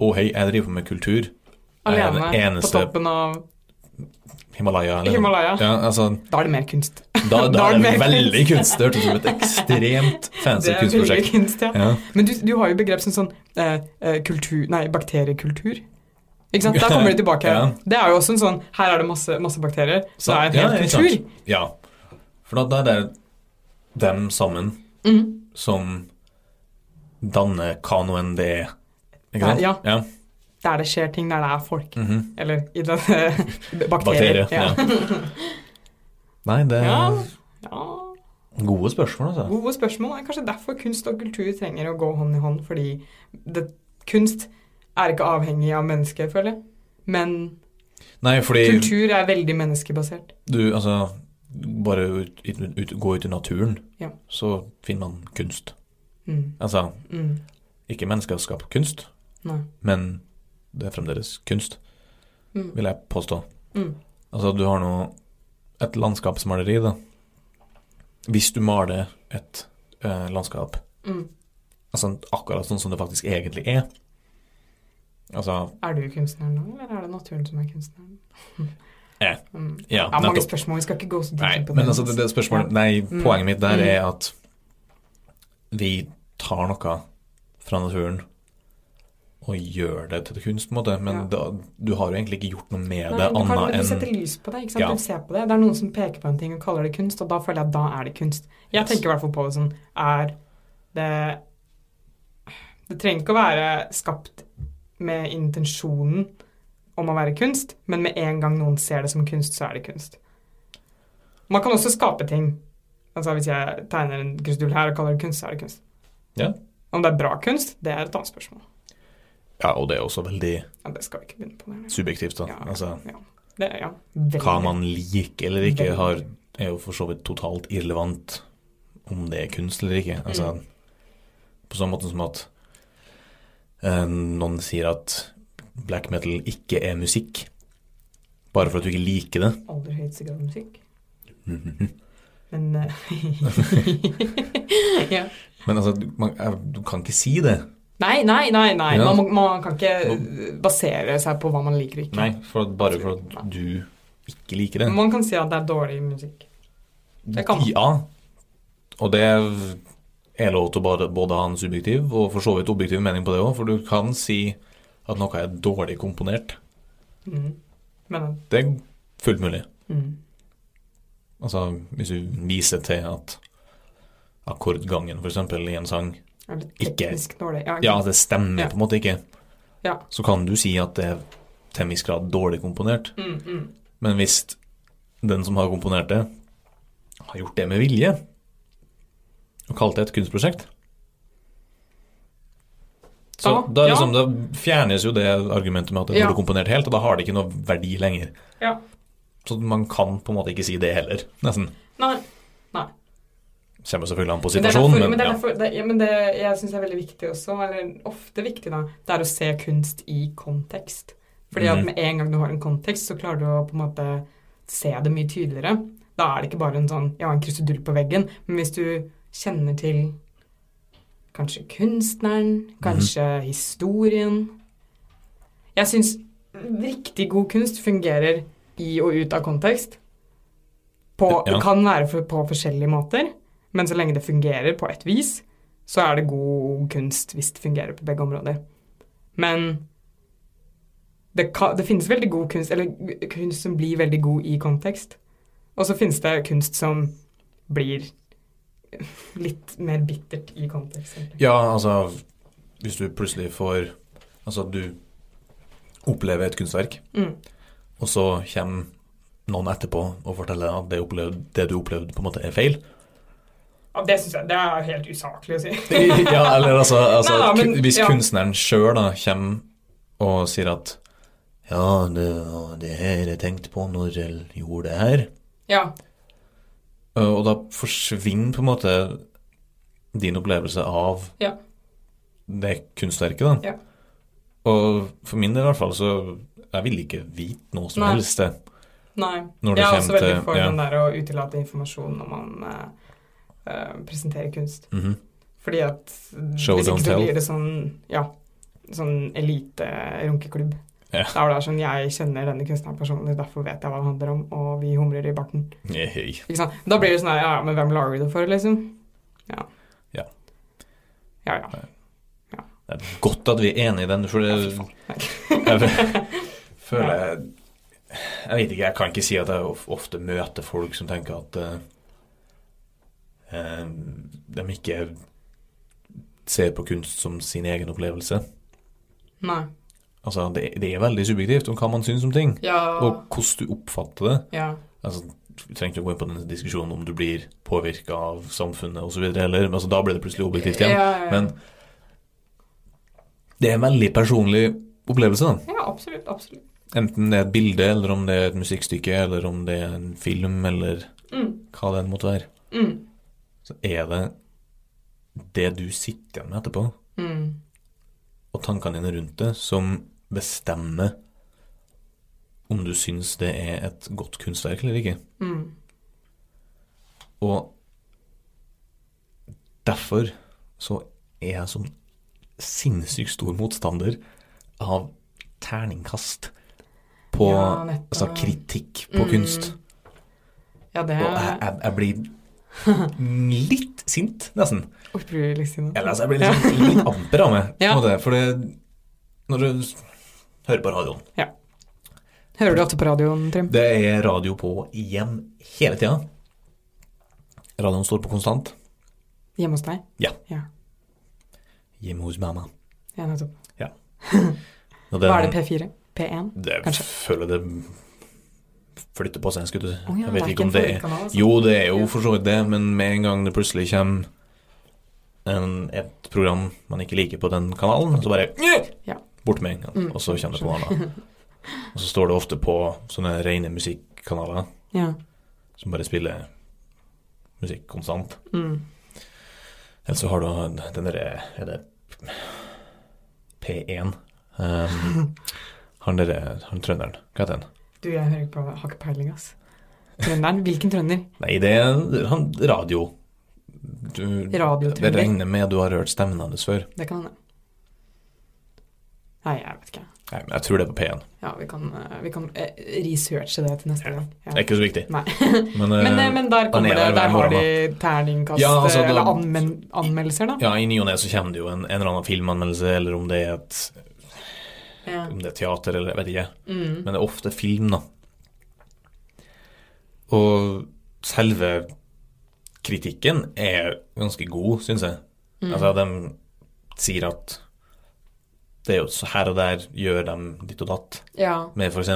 S2: Å, hei, jeg driver med kultur. Jeg er
S1: Alene
S2: den
S1: på
S2: eneste
S1: toppen av
S2: Himalaya. eller noe.
S1: Himalaya.
S2: Ja, altså,
S1: Da er det mer kunst.
S2: da, da
S1: Da er
S2: er det
S1: det mer
S2: veldig kunst. Det hørtes ut som et ekstremt fancy
S1: Det er veldig
S2: altså kunstprosjekt.
S1: kunst, ja.
S2: Ja.
S1: Men du, du har jo begrep som sånn eh, eh, kultur Nei, bakteriekultur. Ikke sant? Der kommer det tilbake.
S2: Ja.
S1: Det er jo også en sånn Her er det masse, masse bakterier. Så det er en
S2: ja,
S1: hel
S2: ikke sant.
S1: kultur.
S2: Ja. For da, da er det dem sammen
S1: Mm.
S2: som danner kanoen det er. Ikke sant?
S1: Ja.
S2: ja.
S1: Der det skjer ting, der det er folk.
S2: mhm.
S1: Eller i den bakterier.
S2: Bakterier. Ja.
S1: Ja.
S2: Nei, det er
S1: Ja. ja.
S2: gode spørsmål, altså.
S1: Gode spørsmål. Det er kanskje derfor kunst og kultur trenger å gå hånd i hånd. Fordi det, kunst er ikke avhengig av mennesket, føler jeg. Men
S2: Nei, fordi
S1: kultur er veldig menneskebasert.
S2: du, altså Bare ut, ut, ut, gå ut i naturen,
S1: Ja.
S2: så finner man kunst.
S1: Mm.
S2: Altså,
S1: Mm.
S2: ikke menneskeskapt kunst,
S1: Nei.
S2: men det er fremdeles kunst,
S1: Mm.
S2: vil jeg påstå.
S1: Mm.
S2: Altså, du har nå et landskapsmaleri, da. Hvis du maler et eh, landskap
S1: Mm.
S2: altså, akkurat sånn som det faktisk egentlig er Altså,
S1: Er du kunstner nå, eller er det naturen som er kunstneren?
S2: Ja.
S1: Mm.
S2: ja,
S1: Det er mange spørsmål, vi skal ikke gå så dypt
S2: Nei,
S1: inn på
S2: men altså, det, det spørsmålet Nei,
S1: Mm.
S2: poenget mitt der
S1: Mm.
S2: er at vi tar noe fra naturen og gjør det til kunst, på en måte, men
S1: Ja.
S2: da, du har jo egentlig ikke gjort noe med
S1: Nei,
S2: det
S1: men du, kan,
S2: annet
S1: du
S2: enn
S1: setter lys på det. ikke sant?
S2: Ja.
S1: Du ser på det. Det er noen som peker på en ting og kaller det kunst, og da føler jeg at da er det kunst. Jeg
S2: Yes.
S1: tenker i hvert fall på det sånn Er det Det trenger ikke å være skapt med intensjonen om å være kunst, men med en gang noen ser det som kunst, så er det kunst. Man kan også skape ting. Altså Hvis jeg tegner en krystall her og kaller det kunst, så er det kunst.
S2: Ja.
S1: Om det er bra kunst, det er et annet spørsmål.
S2: Ja, og det er også veldig
S1: Ja, det skal vi ikke begynne på. Det,
S2: subjektivt, da.
S1: Ja.
S2: Altså,
S1: det, ja.
S2: hva man liker eller ikke
S1: Veldig.
S2: har, er jo for så vidt totalt irrelevant om det er kunst eller ikke. Altså,
S1: Mm.
S2: På sånn måte som at eh, noen sier at black metal ikke er musikk, bare for at du ikke liker det.
S1: aller høyeste grad musikk.
S2: Mhm.
S1: Men eh, ja.
S2: Men altså, du- man, jeg, du kan ikke si det.
S1: Nei, nei, nei. nei.
S2: Ja.
S1: Man, må- man kan ikke basere seg på hva man liker og ikke.
S2: for at, bare for at du ikke liker det.
S1: Man kan si at det er dårlig musikk. det kan man.
S2: Ja. Og det er lov til å bare, både ha en subjektiv og for så vidt objektiv mening på det òg, for du kan si at noe er dårlig komponert.
S1: Mm. Men
S2: Det er fullt mulig.
S1: mm.
S2: Altså, hvis du viser til at akkordgangen, for eksempel, i en sang
S1: er det
S2: Ikke.
S1: teknisk dårlig? Ja,
S2: Ja, det stemmer
S1: Ja.
S2: på en måte ikke.
S1: Ja.
S2: Så kan du si at det til en viss grad dårlig komponert.
S1: Mm, mm.
S2: Men hvis den som har komponert det, har gjort det med vilje, og kalt det et kunstprosjekt Så
S1: Ja,
S2: da, er
S1: ja.
S2: liksom, da fjernes jo det argumentet med at det
S1: Ja.
S2: burde komponert helt, og da har det ikke noe verdi lenger.
S1: Ja.
S2: Så man kan på en måte ikke si det heller, nesten.
S1: Nei.
S2: Kommer selvfølgelig an på
S1: Men det er derfor,
S2: situasjonen,
S1: men, det er
S2: ja.
S1: derfor, det, ja, men det jeg syns er veldig viktig også, eller ofte viktig, da, det er å se kunst i kontekst. Fordi at
S2: Mhm.
S1: med en gang du har en kontekst, så klarer du å på en måte se det mye tydeligere. Da er det ikke bare en sånn ja, en krusedull på veggen, men hvis du kjenner til kanskje
S2: Mhm.
S1: kunstneren, kanskje historien Jeg syns riktig god kunst fungerer i og ut av kontekst. På,
S2: Ja.
S1: Kan være for, på forskjellige måter, men så lenge det fungerer på et vis, så er det god kunst hvis det fungerer på begge områder. Men det, ka- det finnes veldig god kunst, eller kunst som blir veldig god i kontekst. Og så finnes det kunst som blir litt mer bittert i kontekst. egentlig.
S2: Ja, altså Hvis du plutselig får Altså, du opplever et kunstverk,
S1: Mm.
S2: og så kommer noen etterpå og forteller deg at det, opplevde, det du opplevde, på en måte er feil.
S1: Ja, det syns jeg det er helt usaklig å si.
S2: ja, eller altså, altså
S1: Nei, nei, men-
S2: ku- Hvis
S1: ja.
S2: kunstneren sjøl kommer og sier at ja, det, det her jeg tenkte på når jeg gjorde det her.
S1: Ja.
S2: Eh, Og da forsvinner på en måte din opplevelse av
S1: Ja.
S2: det kunstverket, da.
S1: Ja.
S2: Og for min del i hvert fall, så jeg vil ikke vite noe som
S1: Nei.
S2: helst det.
S1: Nei.
S2: Når det
S1: Jeg er også
S2: kommer
S1: veldig
S2: til
S1: for
S2: ja.
S1: den der å utelate informasjon når man eh, eh, presenterer kunst.
S2: Mhm.
S1: Fordi at
S2: Show,
S1: hvis ikke
S2: don't
S1: så
S2: tell.
S1: blir det sånn, ja, sånn elite-runkeklubb.
S2: Ja.
S1: Da er det sånn, jeg kjenner denne kunstneren personlig, derfor vet jeg hva det handler om, og vi humrer i barten.
S2: Hei, hei.
S1: Ikke sant? Da blir det sånn, her, ja, ja, men hvem lager du det for, liksom? Ja.
S2: Ja.
S1: Ja, ja.
S2: Det er godt at vi er enige i den, for det
S1: Ja, fy faen.
S2: jeg føler jeg Jeg vet ikke, jeg kan ikke si at jeg of- ofte møter folk som tenker at eh, eh, de ikke ser på kunst som sin egen opplevelse.
S1: Nei.
S2: Altså, det, det er veldig subjektivt om hva man syns om ting.
S1: Ja.
S2: Og hvordan du oppfatter det.
S1: ja.
S2: Altså, du trenger ikke å gå inn på den diskusjonen om du blir påvirka av samfunnet osv. heller. Men Altså, da blir det plutselig objektivt igjen.
S1: Ja, ja, ja.
S2: Men det er en veldig personlig opplevelse, da.
S1: Ja, absolutt, absolutt.
S2: Enten det er et bilde, eller om det er et musikkstykke, eller om det er en film, eller
S1: Mm,
S2: hva det enn måtte være.
S1: mm,
S2: Så er det det du sitter igjen med etterpå,
S1: mm.
S2: og tankene dine rundt det, som bestemmer om du syns det er et godt kunstverk eller ikke.
S1: Mm.
S2: Og derfor så er jeg sånn sinnssykt stor motstander av terningkast på
S1: Ja, nettopp.
S2: Altså kritikk på
S1: Mm.
S2: kunst.
S1: Ja, det
S2: Og eh, jeg, jeg, jeg blir litt sint, nesten.
S1: orker du liksom.
S2: Eller altså, jeg blir liksom litt amper av meg. på en
S1: Ja.
S2: måte, For det Når du s- hører på radioen
S1: Hører du ofte på radioen, Trym?
S2: Det er radio på igjen hele tida. Radioen står på konstant.
S1: Hjemme hos deg?
S2: Ja.
S1: Ja,
S2: Hjemme hos mamma.
S1: ja nettopp.
S2: Og
S1: Hva er det, P4? P1?
S2: Det
S1: Kanskje.
S2: føler jeg det flytter på seg. skulle du si.
S1: Å ja,
S2: jeg vet
S1: er
S2: ikke om
S1: en
S2: det er
S1: favorittkanal, altså.
S2: Jo, det er jo
S1: Ja.
S2: for så vidt det, men med en gang det plutselig kommer en, et program man ikke liker på den kanalen, så bare
S1: Ja.
S2: bort med en gang,
S1: Mm.
S2: og så kommer det på noe annet. Og så står det ofte på sånne rene musikkanaler
S1: Ja.
S2: som bare spiller musikk konstant.
S1: Mm.
S2: Eller så har du den derre Er det P1? Um, han derre Han trønderen, hva heter han?
S1: Du, jeg hører ikke på Har ikke peiling, ass. Trønderen? Hvilken trønder?
S2: Nei, det er han, radio. Du, det
S1: Radiotrønder?
S2: regner med du har hørt stemmen hans før.
S1: Det kan hende. Nei, jeg vet ikke.
S2: Nei, men Jeg tror det er på P1.
S1: Ja, vi kan, eh, vi kan eh, researche det til neste
S2: Ja.
S1: gang. Ja.
S2: Det er ikke så viktig.
S1: Nei.
S2: Men, eh,
S1: Men, eh, men der kommer
S2: er
S1: det,
S2: der hver
S1: der har
S2: morgen,
S1: de terningkast
S2: Ja, altså,
S1: eh,
S2: da-
S1: Eller anmen anmeldelser, da.
S2: ja, i ny og ne så kommer det jo en, en eller annen filmanmeldelse, eller om det er et
S1: Ja.
S2: om det er teater, eller jeg vet ikke.
S1: Mm.
S2: Men det er ofte film, da. Og selve kritikken er ganske god, syns jeg.
S1: Mm.
S2: Altså, de sier at Det er jo så her og der gjør de ditt og datt.
S1: Mm. Ja.
S2: Med f.eks.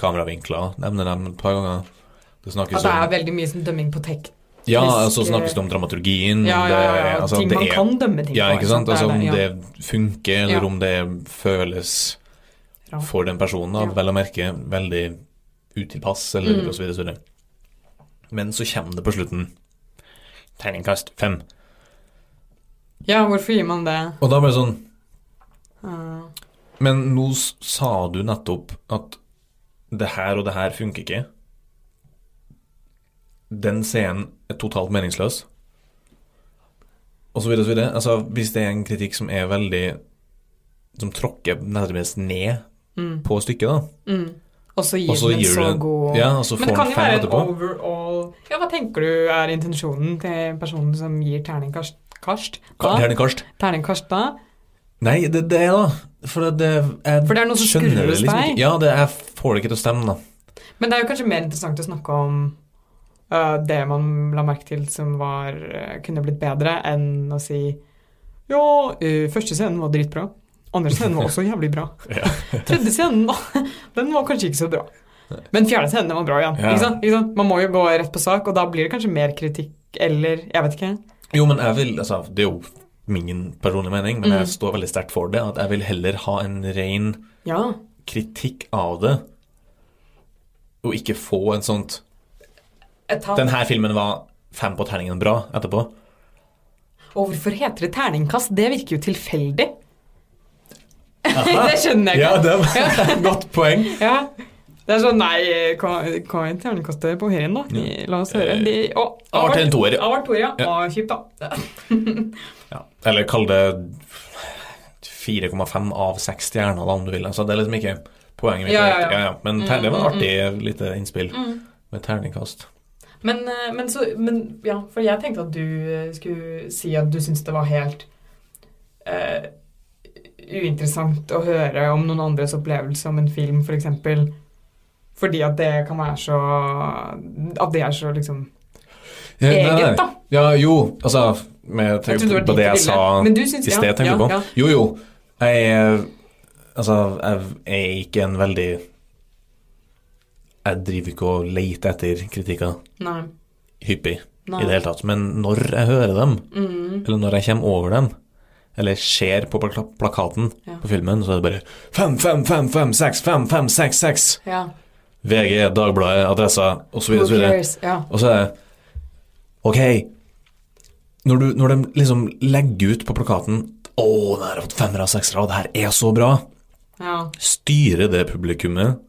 S2: kameravinkler. Nevner dem et par ganger. Det
S1: At
S2: snakkes
S1: det er
S2: om
S1: veldig mye sånn dømming på tek.
S2: Ja, altså
S1: frisk,
S2: snakkes det om dramaturgien.
S1: Ja, ja, ja.
S2: Mm, det er- altså,
S1: ting
S2: det
S1: man
S2: er-
S1: kan dømme ting
S2: Ja,
S1: på.
S2: ikke sant? Altså om
S1: er ja.
S2: det funker, eller
S1: Ja.
S2: om det føles
S1: Rart.
S2: for den personen, da,
S1: Ja.
S2: vel å merke, veldig utilpass, eller
S1: Mm.
S2: og så videre, så videre. Men så kommer det på slutten. Terningkast fem.
S1: ja, hvorfor gir man det?
S2: Og da ble det sånn
S1: Uh,
S2: Men nå s- sa du nettopp at det her og det her funker ikke. Den scenen er totalt meningsløs. Og så videre og så videre. Altså, hvis det er en kritikk som er veldig Som tråkker nødvendigvis ned
S1: mm,
S2: på stykket, da.
S1: mm. Og så gir
S2: Og så
S1: den en
S2: gir
S1: så
S2: du-
S1: god
S2: Ja, og så
S1: Men
S2: får
S1: det kan
S2: han
S1: jo være
S2: feil
S1: en
S2: etterpå.
S1: overall Ja, hva tenker du er intensjonen til personen som gir terningkast? Karst,
S2: Ka-
S1: da?
S2: Terningkast.
S1: Terningkast da?
S2: Nei, det, det er da For det, det, jeg
S1: For det er noe som
S2: skjønner
S1: skurrer
S2: det
S1: hos
S2: liksom
S1: deg.
S2: ikke. Ja, det, jeg får det ikke til å stemme, da.
S1: Men det er jo kanskje mer interessant å snakke om øh, det man la merke til som var, øh, kunne blitt bedre, enn å si Ja, øh, første scenen var dritbra. Andre scenen var også jævlig bra.
S2: Ja.
S1: Tredje scenen, da, den var kanskje ikke så bra. Men fjerde scenen, den var bra igjen.
S2: Ja.
S1: Ikke sant? Ikke sant? Man må jo gå rett på sak, og da blir det kanskje mer kritikk, eller jeg vet ikke.
S2: Jo, men jeg vil altså, Det er jo min personlige mening, men
S1: Mm.
S2: jeg står veldig sterkt for det. At jeg vil heller ha en ren
S1: Ja.
S2: kritikk av det, og ikke få en sånt Den her filmen var fem på terningen bra etterpå.
S1: Og hvorfor heter det terningkast? Det virker jo tilfeldig. det skjønner jeg ikke.
S2: det var godt poeng.
S1: Ja. Det er sånn, nei, hva hva er terningkastet på herien da?
S2: Ja.
S1: La oss høre. De, å,
S2: Av til en toer. ja.
S1: Avart Toria.
S2: Ja.
S1: Å, kjipt da.
S2: Ja. Eller kall det 4,5 av 6 stjerner, da, om du vil. Altså, det er liksom ikke poenget mitt.
S1: Ja, ja,
S2: direkt.
S1: ja.
S2: Men
S1: Mm,
S2: ter- det
S1: mm,
S2: var et artig lite innspill med terningkast.
S1: Men, eh, men så, men ja, for jeg tenkte at du eh, skulle si at du syntes det var helt eh, uinteressant å høre om noen andres opplevelse om en film, for eksempel. Fordi at det kan være så, at det er så liksom
S2: Ja, nei, nei.
S1: eget da.
S2: Ja, jo, altså med
S1: Jeg
S2: tenk
S1: trodde det var
S2: på
S1: ditt
S2: det jeg
S1: bilde.
S2: sa
S1: Men du syns,
S2: i sted, tenker du på?
S1: Ja,
S2: Jo, jo. Jeg er Altså, jeg er ikke en veldig Jeg driver ikke og leter etter kritikker
S1: Nei.
S2: hyppig
S1: nei.
S2: i det hele tatt. Men når jeg hører dem,
S1: Mm.
S2: eller når jeg kommer over dem, eller ser på plaka plakaten
S1: Ja.
S2: på filmen, så er det bare 5, 5, 5, 5, 6, 5, 5, 6, 6.
S1: Ja.
S2: VG, Dagbladet, Adressa, osv.
S1: Who
S2: osv.
S1: cares? Ja.
S2: Og så er det Ok, når, du, når de liksom legger ut på plakaten Å, den her har fått femmer av seksere, og det her er så bra.
S1: ja.
S2: Styrer det publikummet?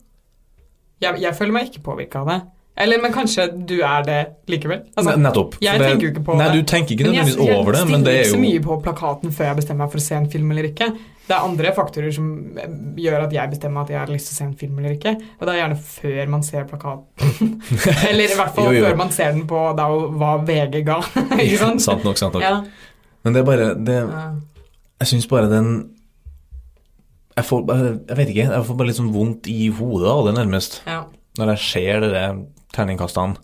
S1: Jeg, jeg føler meg ikke påvirka av det. Eller, men kanskje du er det likevel. Altså,
S2: Ne- Nettopp.
S1: jeg
S2: For
S1: tenker jo ikke på
S2: nei,
S1: det.
S2: du tenker ikke
S1: men jeg,
S2: nødvendigvis over det,
S1: jeg
S2: men det
S1: stiller
S2: er
S1: ikke så
S2: jo
S1: mye på plakaten før jeg bestemmer meg for å se en film eller ikke. Det er andre faktorer som eh, gjør at jeg bestemmer at jeg har lyst til å se en film eller ikke. Og det er gjerne før man ser plakaten. eller i hvert fall
S2: Jo, jo.
S1: før man ser den på da, hva VG ga. ikke sant?
S2: Sant nok, sant nok.
S1: Ja.
S2: Men det er bare det,
S1: Ja.
S2: Jeg syns bare den jeg får bare, jeg vet ikke, jeg får bare litt sånn vondt i hodet av det, nærmest.
S1: Ja.
S2: Når jeg ser de der terningkastene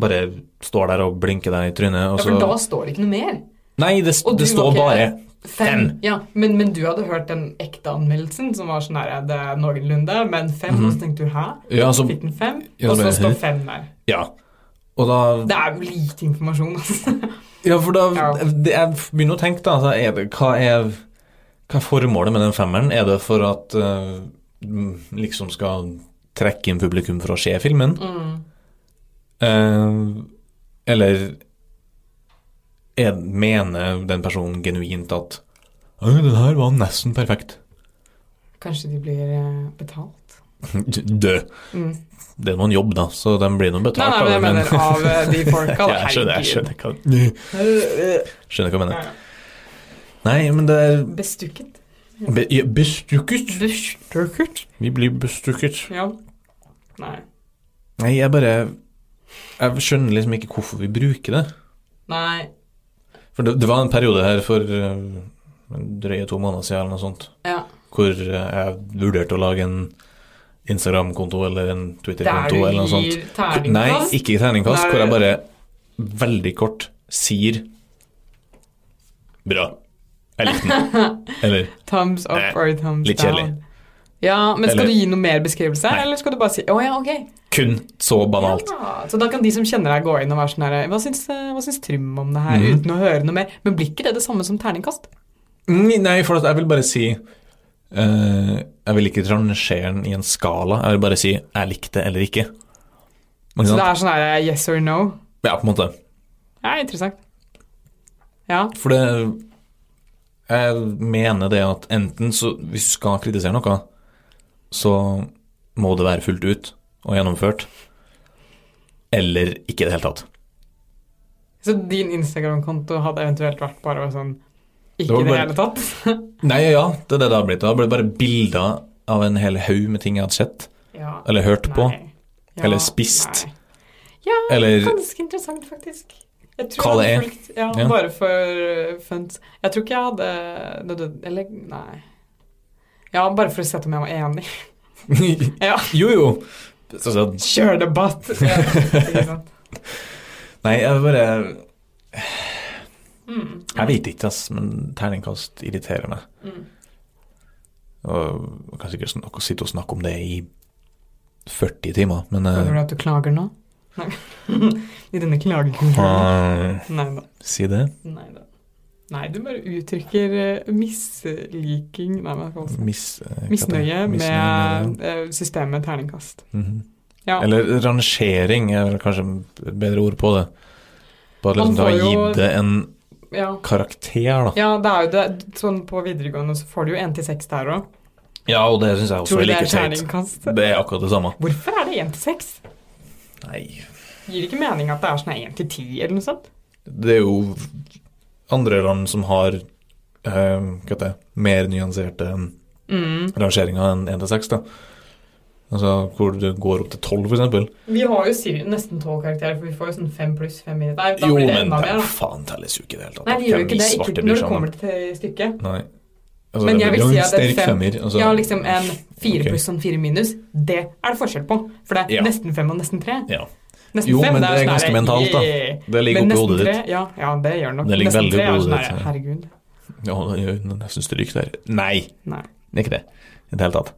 S2: bare står der og blinker deg i trynet, og
S1: ja,
S2: så
S1: for da står det ikke noe mer.
S2: Nei, det,
S1: Og du
S2: det
S1: var
S2: står
S1: ikke-
S2: bare Fem.
S1: Ja, men, men du hadde hørt den ekte anmeldelsen som var sånn her det er noenlunde, men fem,
S2: Mhm.
S1: og så tenkte du hæ?
S2: Ja, altså,
S1: Fikk den fem,
S2: Ja,
S1: og så
S2: men-
S1: står fem der.
S2: ja. Og da
S1: Det er jo lite informasjon, altså.
S2: Ja, for da
S1: Ja.
S2: det, Jeg begynner å tenke, da. Altså, er det, hva, er, hva er formålet med den femmeren? Er det for at eh, m, liksom skal trekke inn publikum for å se filmen?
S1: Mm.
S2: Eh, eller er, mener den personen genuint at «Oi, den her var nesten perfekt.
S1: Kanskje de blir eh, betalt?
S2: Dø.
S1: Mm.
S2: Det er noen jobb, da, så den blir nå
S1: Nei,
S2: betalt.
S1: nei, men jeg
S2: da,
S1: mener av eh, de folka.
S2: ja, jeg skjønner, jeg skjønner, hva,
S1: skjønner.
S2: skjønner hva jeg mener. Nei, men det er
S1: Bestukket.
S2: Be ja, bestukket?
S1: Bestukket?
S2: Vi blir bestukket.
S1: Ja. Nei.
S2: Nei, jeg bare Jeg skjønner liksom ikke hvorfor vi bruker det.
S1: Nei.
S2: For det, det var en periode her for eh, en drøye to måneder siden eller noe sånt,
S1: Ja.
S2: hvor eh, jeg vurderte å lage en Instagram-konto eller
S1: Der
S2: en
S1: du
S2: Twitter-konto eller noe sånt.
S1: gir
S2: Nei,
S1: terningkast?
S2: ikke terningkast,
S1: Nei.
S2: hvor jeg bare veldig kort sier Bra. Jeg likte den. Eller
S1: Thumbs up
S2: Nei,
S1: or thumbs
S2: Eh, litt
S1: down.
S2: kjedelig.
S1: Ja, men skal
S2: Eller-
S1: du gi noe mer beskrivelse,
S2: Nei.
S1: eller skal du bare si Å ja, ok.
S2: kun så banalt.
S1: Ja, så da kan de som kjenner deg, gå inn og være sånn her Hva syns, eh, hva syns Trym om det her?
S2: Mhm.
S1: Uten å høre noe mer. Men blir ikke det det samme som terningkast?
S2: Mm, Nei, for at jeg vil bare si eh, Jeg vil ikke rangere den i en skala. Jeg vil bare si 'jeg likte eller ikke'.
S1: Så
S2: Ikke
S1: det
S2: sant?
S1: er sånn her eh, yes or no?
S2: Ja, på en måte.
S1: Ja, interessant. Ja.
S2: For det Jeg mener det at enten så Hvis du skal kritisere noe, så må det være fullt ut og gjennomført. Eller ikke i det hele tatt.
S1: Så din Instagram-konto hadde eventuelt vært bare sånn
S2: Det
S1: Ikke
S2: var
S1: i det
S2: bare-
S1: hele tatt?
S2: Nei, ja, det er det det har blitt. Det har blitt bare bilder av en hel haug med ting jeg hadde sett,
S1: Ja.
S2: eller hørt på,
S1: Nei. Ja,
S2: eller spist.
S1: Nei.
S2: eller
S1: Ganske interessant, faktisk. Jeg tror
S2: Hva det
S1: jeg
S2: er.
S1: hadde fulgt- Ja,
S2: E. Ja.
S1: Bare for uh, funs. Jeg tror ikke jeg hadde det død- Eller, nei. Ja, bare for å sette om jeg var enig. Ja.
S2: Jo, jo. Så, så,
S1: Kjør debatt! Ja, ikke sant.
S2: nei, jeg bare
S1: Mm.
S2: Jeg vet ikke, ass, men terningkast irriterer meg.
S1: Mm.
S2: Og jeg kan sikkert snak- sitte og snakke om det i 40 timer, men eh,
S1: Føler du at du klager nå? Nei. I denne klagingen.
S2: eh,
S1: Nei da.
S2: Si det.
S1: Nei da. Nei, du bare uttrykker eh, misliking Nei, hva skal man si?
S2: Mis, eh, hva heter det?
S1: Misnøye
S2: Misnøye,
S1: med eh, systemet terningkast.
S2: ja. Mhm.
S1: Ja.
S2: Eller rangering er vel kanskje et bedre ord på det. Bare
S1: Man
S2: liksom du har
S1: får jo-
S2: gitt det en
S1: ja.
S2: karakter, da.
S1: Ja, det er jo det. Sånn på videregående så får du jo 1 til 6 der òg.
S2: Ja, og det syns jeg også
S1: Tror
S2: er
S1: du det
S2: like
S1: er
S2: teit.
S1: terningkast?
S2: Det er akkurat det samme.
S1: Hvorfor er det 1 til 6?
S2: Nei,
S1: Gir det ikke mening at det er sånn 1 til 10 eller noe sånt?
S2: det er jo andre land som har eh, hva heter det, mer nyanserte enn
S1: Mm.
S2: rangeringa enn 1 til 6, da. Altså hvor du går opp til 12, for eksempel.
S1: Vi har jo sir- nesten 12 karakterer, for vi får jo sånn 5 pluss 5 minus. Nei, da
S2: Jo,
S1: blir det
S2: men
S1: enda mer,
S2: det
S1: da.
S2: faen telles jo ikke i det hele tatt.
S1: Nei, det gjør jo
S2: Hvem
S1: ikke det.
S2: svarte sånn,
S1: Ikke
S2: bryr
S1: når
S2: seg
S1: det
S2: om
S1: kommer til stykket.
S2: Nei. Altså,
S1: Men
S2: det
S1: jeg
S2: blir
S1: vil
S2: jo
S1: si
S2: en
S1: at en
S2: sterk
S1: fem-
S2: femmer. Altså,
S1: ja, liksom en 4
S2: Ok.
S1: pluss og en 4 minus, det er det forskjell på. For det er
S2: Ja.
S1: nesten 5 og nesten 3.
S2: Ja.
S1: Nesten
S2: Jo,
S1: fem,
S2: men det er
S1: sånn
S2: ganske
S1: her,
S2: mentalt, da.
S1: yeah.
S2: Det ligger
S1: Men
S2: oppi
S1: nesten
S2: hodet
S1: tre,
S2: ditt.
S1: Ja, ja, det gjør nok.
S2: Det ligger
S1: nesten
S2: veldig
S1: tre
S2: oppi
S1: er
S2: hodet
S1: sånn
S2: ditt,
S1: her,
S2: ja.
S1: herregud.
S2: Ja, det gjør nesten stryk der. Nei,
S1: Nei.
S2: det er ikke det i det hele tatt.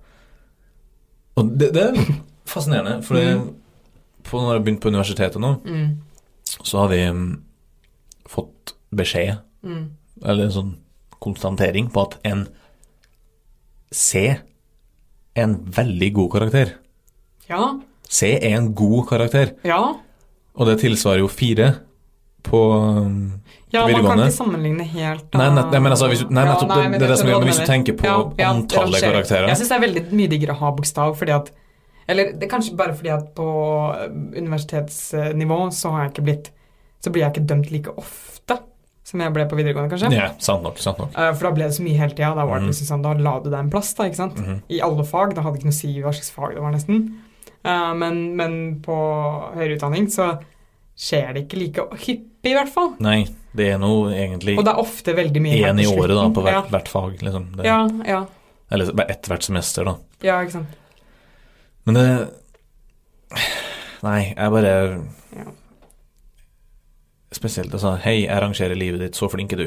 S2: Og det, det er fascinerende, for det- på, når jeg har begynt på universitetet nå,
S1: Mm.
S2: så har vi mm, fått beskjed,
S1: Mm.
S2: eller en sånn konstatering, på at en C er en veldig god karakter.
S1: Ja.
S2: C er en god karakter,
S1: Ja.
S2: og det tilsvarer jo fire på mm,
S1: Ja, man kan
S2: videregående.
S1: ikke sammenligne helt da.
S2: Nei, nett, nei, men altså, hvis du, nei, nettopp,
S1: Ja, nei, men
S2: det, det er det
S1: jeg
S2: som
S1: skjønner
S2: gjør,
S1: hva
S2: men hvis du
S1: mener.
S2: tenker på
S1: Ja, ja,
S2: antallet
S1: rangerer.
S2: karakterer
S1: Jeg syns det er veldig mye diggere å ha bokstav, fordi at Eller det er kanskje bare fordi at på eh, universitetsnivå så har jeg ikke blitt Så blir jeg ikke dømt like ofte som jeg ble på videregående, kanskje.
S2: Ja, sant nok, sant nok.
S1: Eh, For da ble det så mye hele tida. Da var
S2: Mhm.
S1: det liksom sånn, da la du deg en plass, da, ikke sant.
S2: Mhm.
S1: I alle fag. Da hadde det ikke noe å si hva slags fag det var, nesten. Eh, Men, men på høyere utdanning så skjer det ikke like hyppig, i hvert fall.
S2: Nei, det er nå egentlig
S1: Og det er ofte veldig mye her
S2: én i
S1: på slutten.
S2: året da, på hvert, hvert fag. Liksom. Det,
S1: Ja, ja,
S2: Eller ett hvert semester, da.
S1: ja, ja, ikke sant.
S2: Men det Nei, jeg bare
S1: Ja.
S2: Spesielt altså Hei, jeg rangerer livet ditt, så flink er du.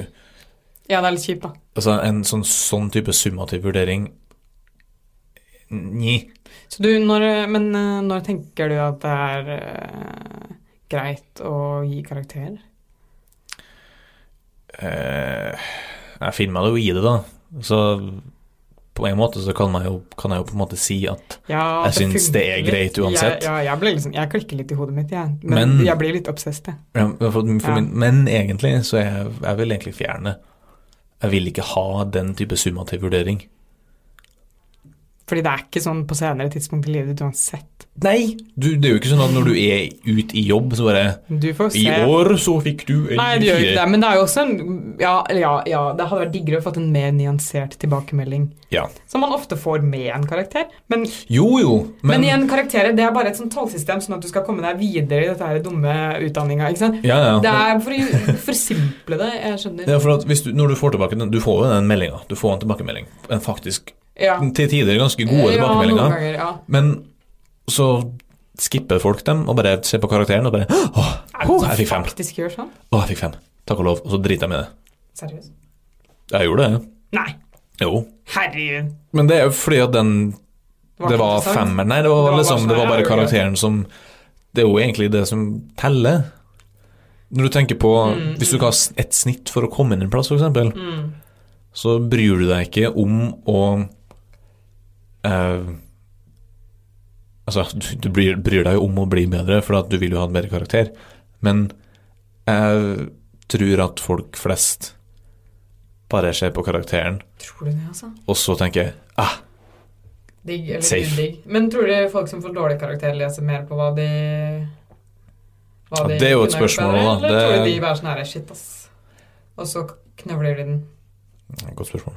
S1: Ja, det er litt kjipt, da.
S2: Altså en sånn, sånn type summativ vurdering Nji.
S1: Så du, når, men eh, når tenker du at det er eh, greit å gi karakterer?
S2: Eh, jeg finner meg det jo i det, da. Så på en måte så kan, man jo, kan jeg jo på en måte si at
S1: Ja,
S2: Jeg syns det
S1: funker
S2: er
S1: litt.
S2: greit uansett.
S1: Jeg, ja, jeg, ble liksom, jeg klikker litt i hodet mitt, jeg. Men,
S2: Men-
S1: jeg blir litt obsessed, jeg.
S2: ja, for, for
S1: Ja.
S2: min, Men egentlig så er jeg, jeg vil egentlig fjerne det. Jeg vil ikke ha den type summativ vurdering.
S1: Fordi det er ikke sånn på senere tidspunkt i livet ditt uansett.
S2: Nei! Du, det er jo ikke sånn at når du er ute i jobb, så bare
S1: Du får se.
S2: I år så fikk du en
S1: Nei, det gjør jo ikke det,
S2: fire.
S1: men det er jo også en Ja, eller ja, ja det hadde vært diggere å fått en mer nyansert tilbakemelding.
S2: Ja.
S1: Som man ofte får med en karakter. Men,
S2: Jo, jo,
S1: men,
S2: men,
S1: igjen, karakterer det er bare et sånt tallsystem, sånn at du skal komme deg videre i dette her dumme utdanninga. Ikke sant?
S2: ja, ja.
S1: Det er for å forsimple det, jeg skjønner.
S2: Det er for at hvis du, når du får tilbake den Du får jo den meldinga. Du får en tilbakemelding. En faktisk
S1: Ja.
S2: til tider ganske
S1: Ja,
S2: gode tilbakemeldinger.
S1: noen ganger, ja.
S2: Men så skipper folk dem og bare ser på karakteren og bare Åh,
S1: Er det noen
S2: jeg
S1: som
S2: fikk fem.
S1: faktisk gjør sånn?
S2: åh, jeg fikk fem. Takk og lov. Og så driter jeg med det.
S1: Seriøst?
S2: Jeg gjorde det.
S1: Nei,
S2: Jo.
S1: herregud.
S2: Men det er jo fordi at den Det
S1: ikke
S2: var
S1: interessant.
S2: femmer Nei, det var,
S1: Det var
S2: liksom
S1: bare
S2: Det var
S1: sånn,
S2: bare
S1: ja,
S2: karakteren som Det er jo egentlig det som teller. Når du tenker på
S1: Mm,
S2: Hvis du ikke har s- et snitt for å komme inn en plass, f.eks.,
S1: Mm.
S2: så bryr du deg ikke om å eh, Altså, du- du bryr, bryr deg jo om å bli bedre, for at du vil jo ha en bedre karakter. Men jeg tror at folk flest bare ser på karakteren,
S1: Tror du det, altså?
S2: og så tenker jeg ah,
S1: Digg eller
S2: Safe.
S1: udigg. Men tror du folk som får dårlig karakter, leser mer på hva de hva
S2: Ja, det er jo et
S1: kunne gjort
S2: spørsmål
S1: bedre,
S2: nå,
S1: Eller
S2: da. Det-
S1: tror du de bare sånn her Shit, ass. Og så knøvler de den.
S2: Godt spørsmål.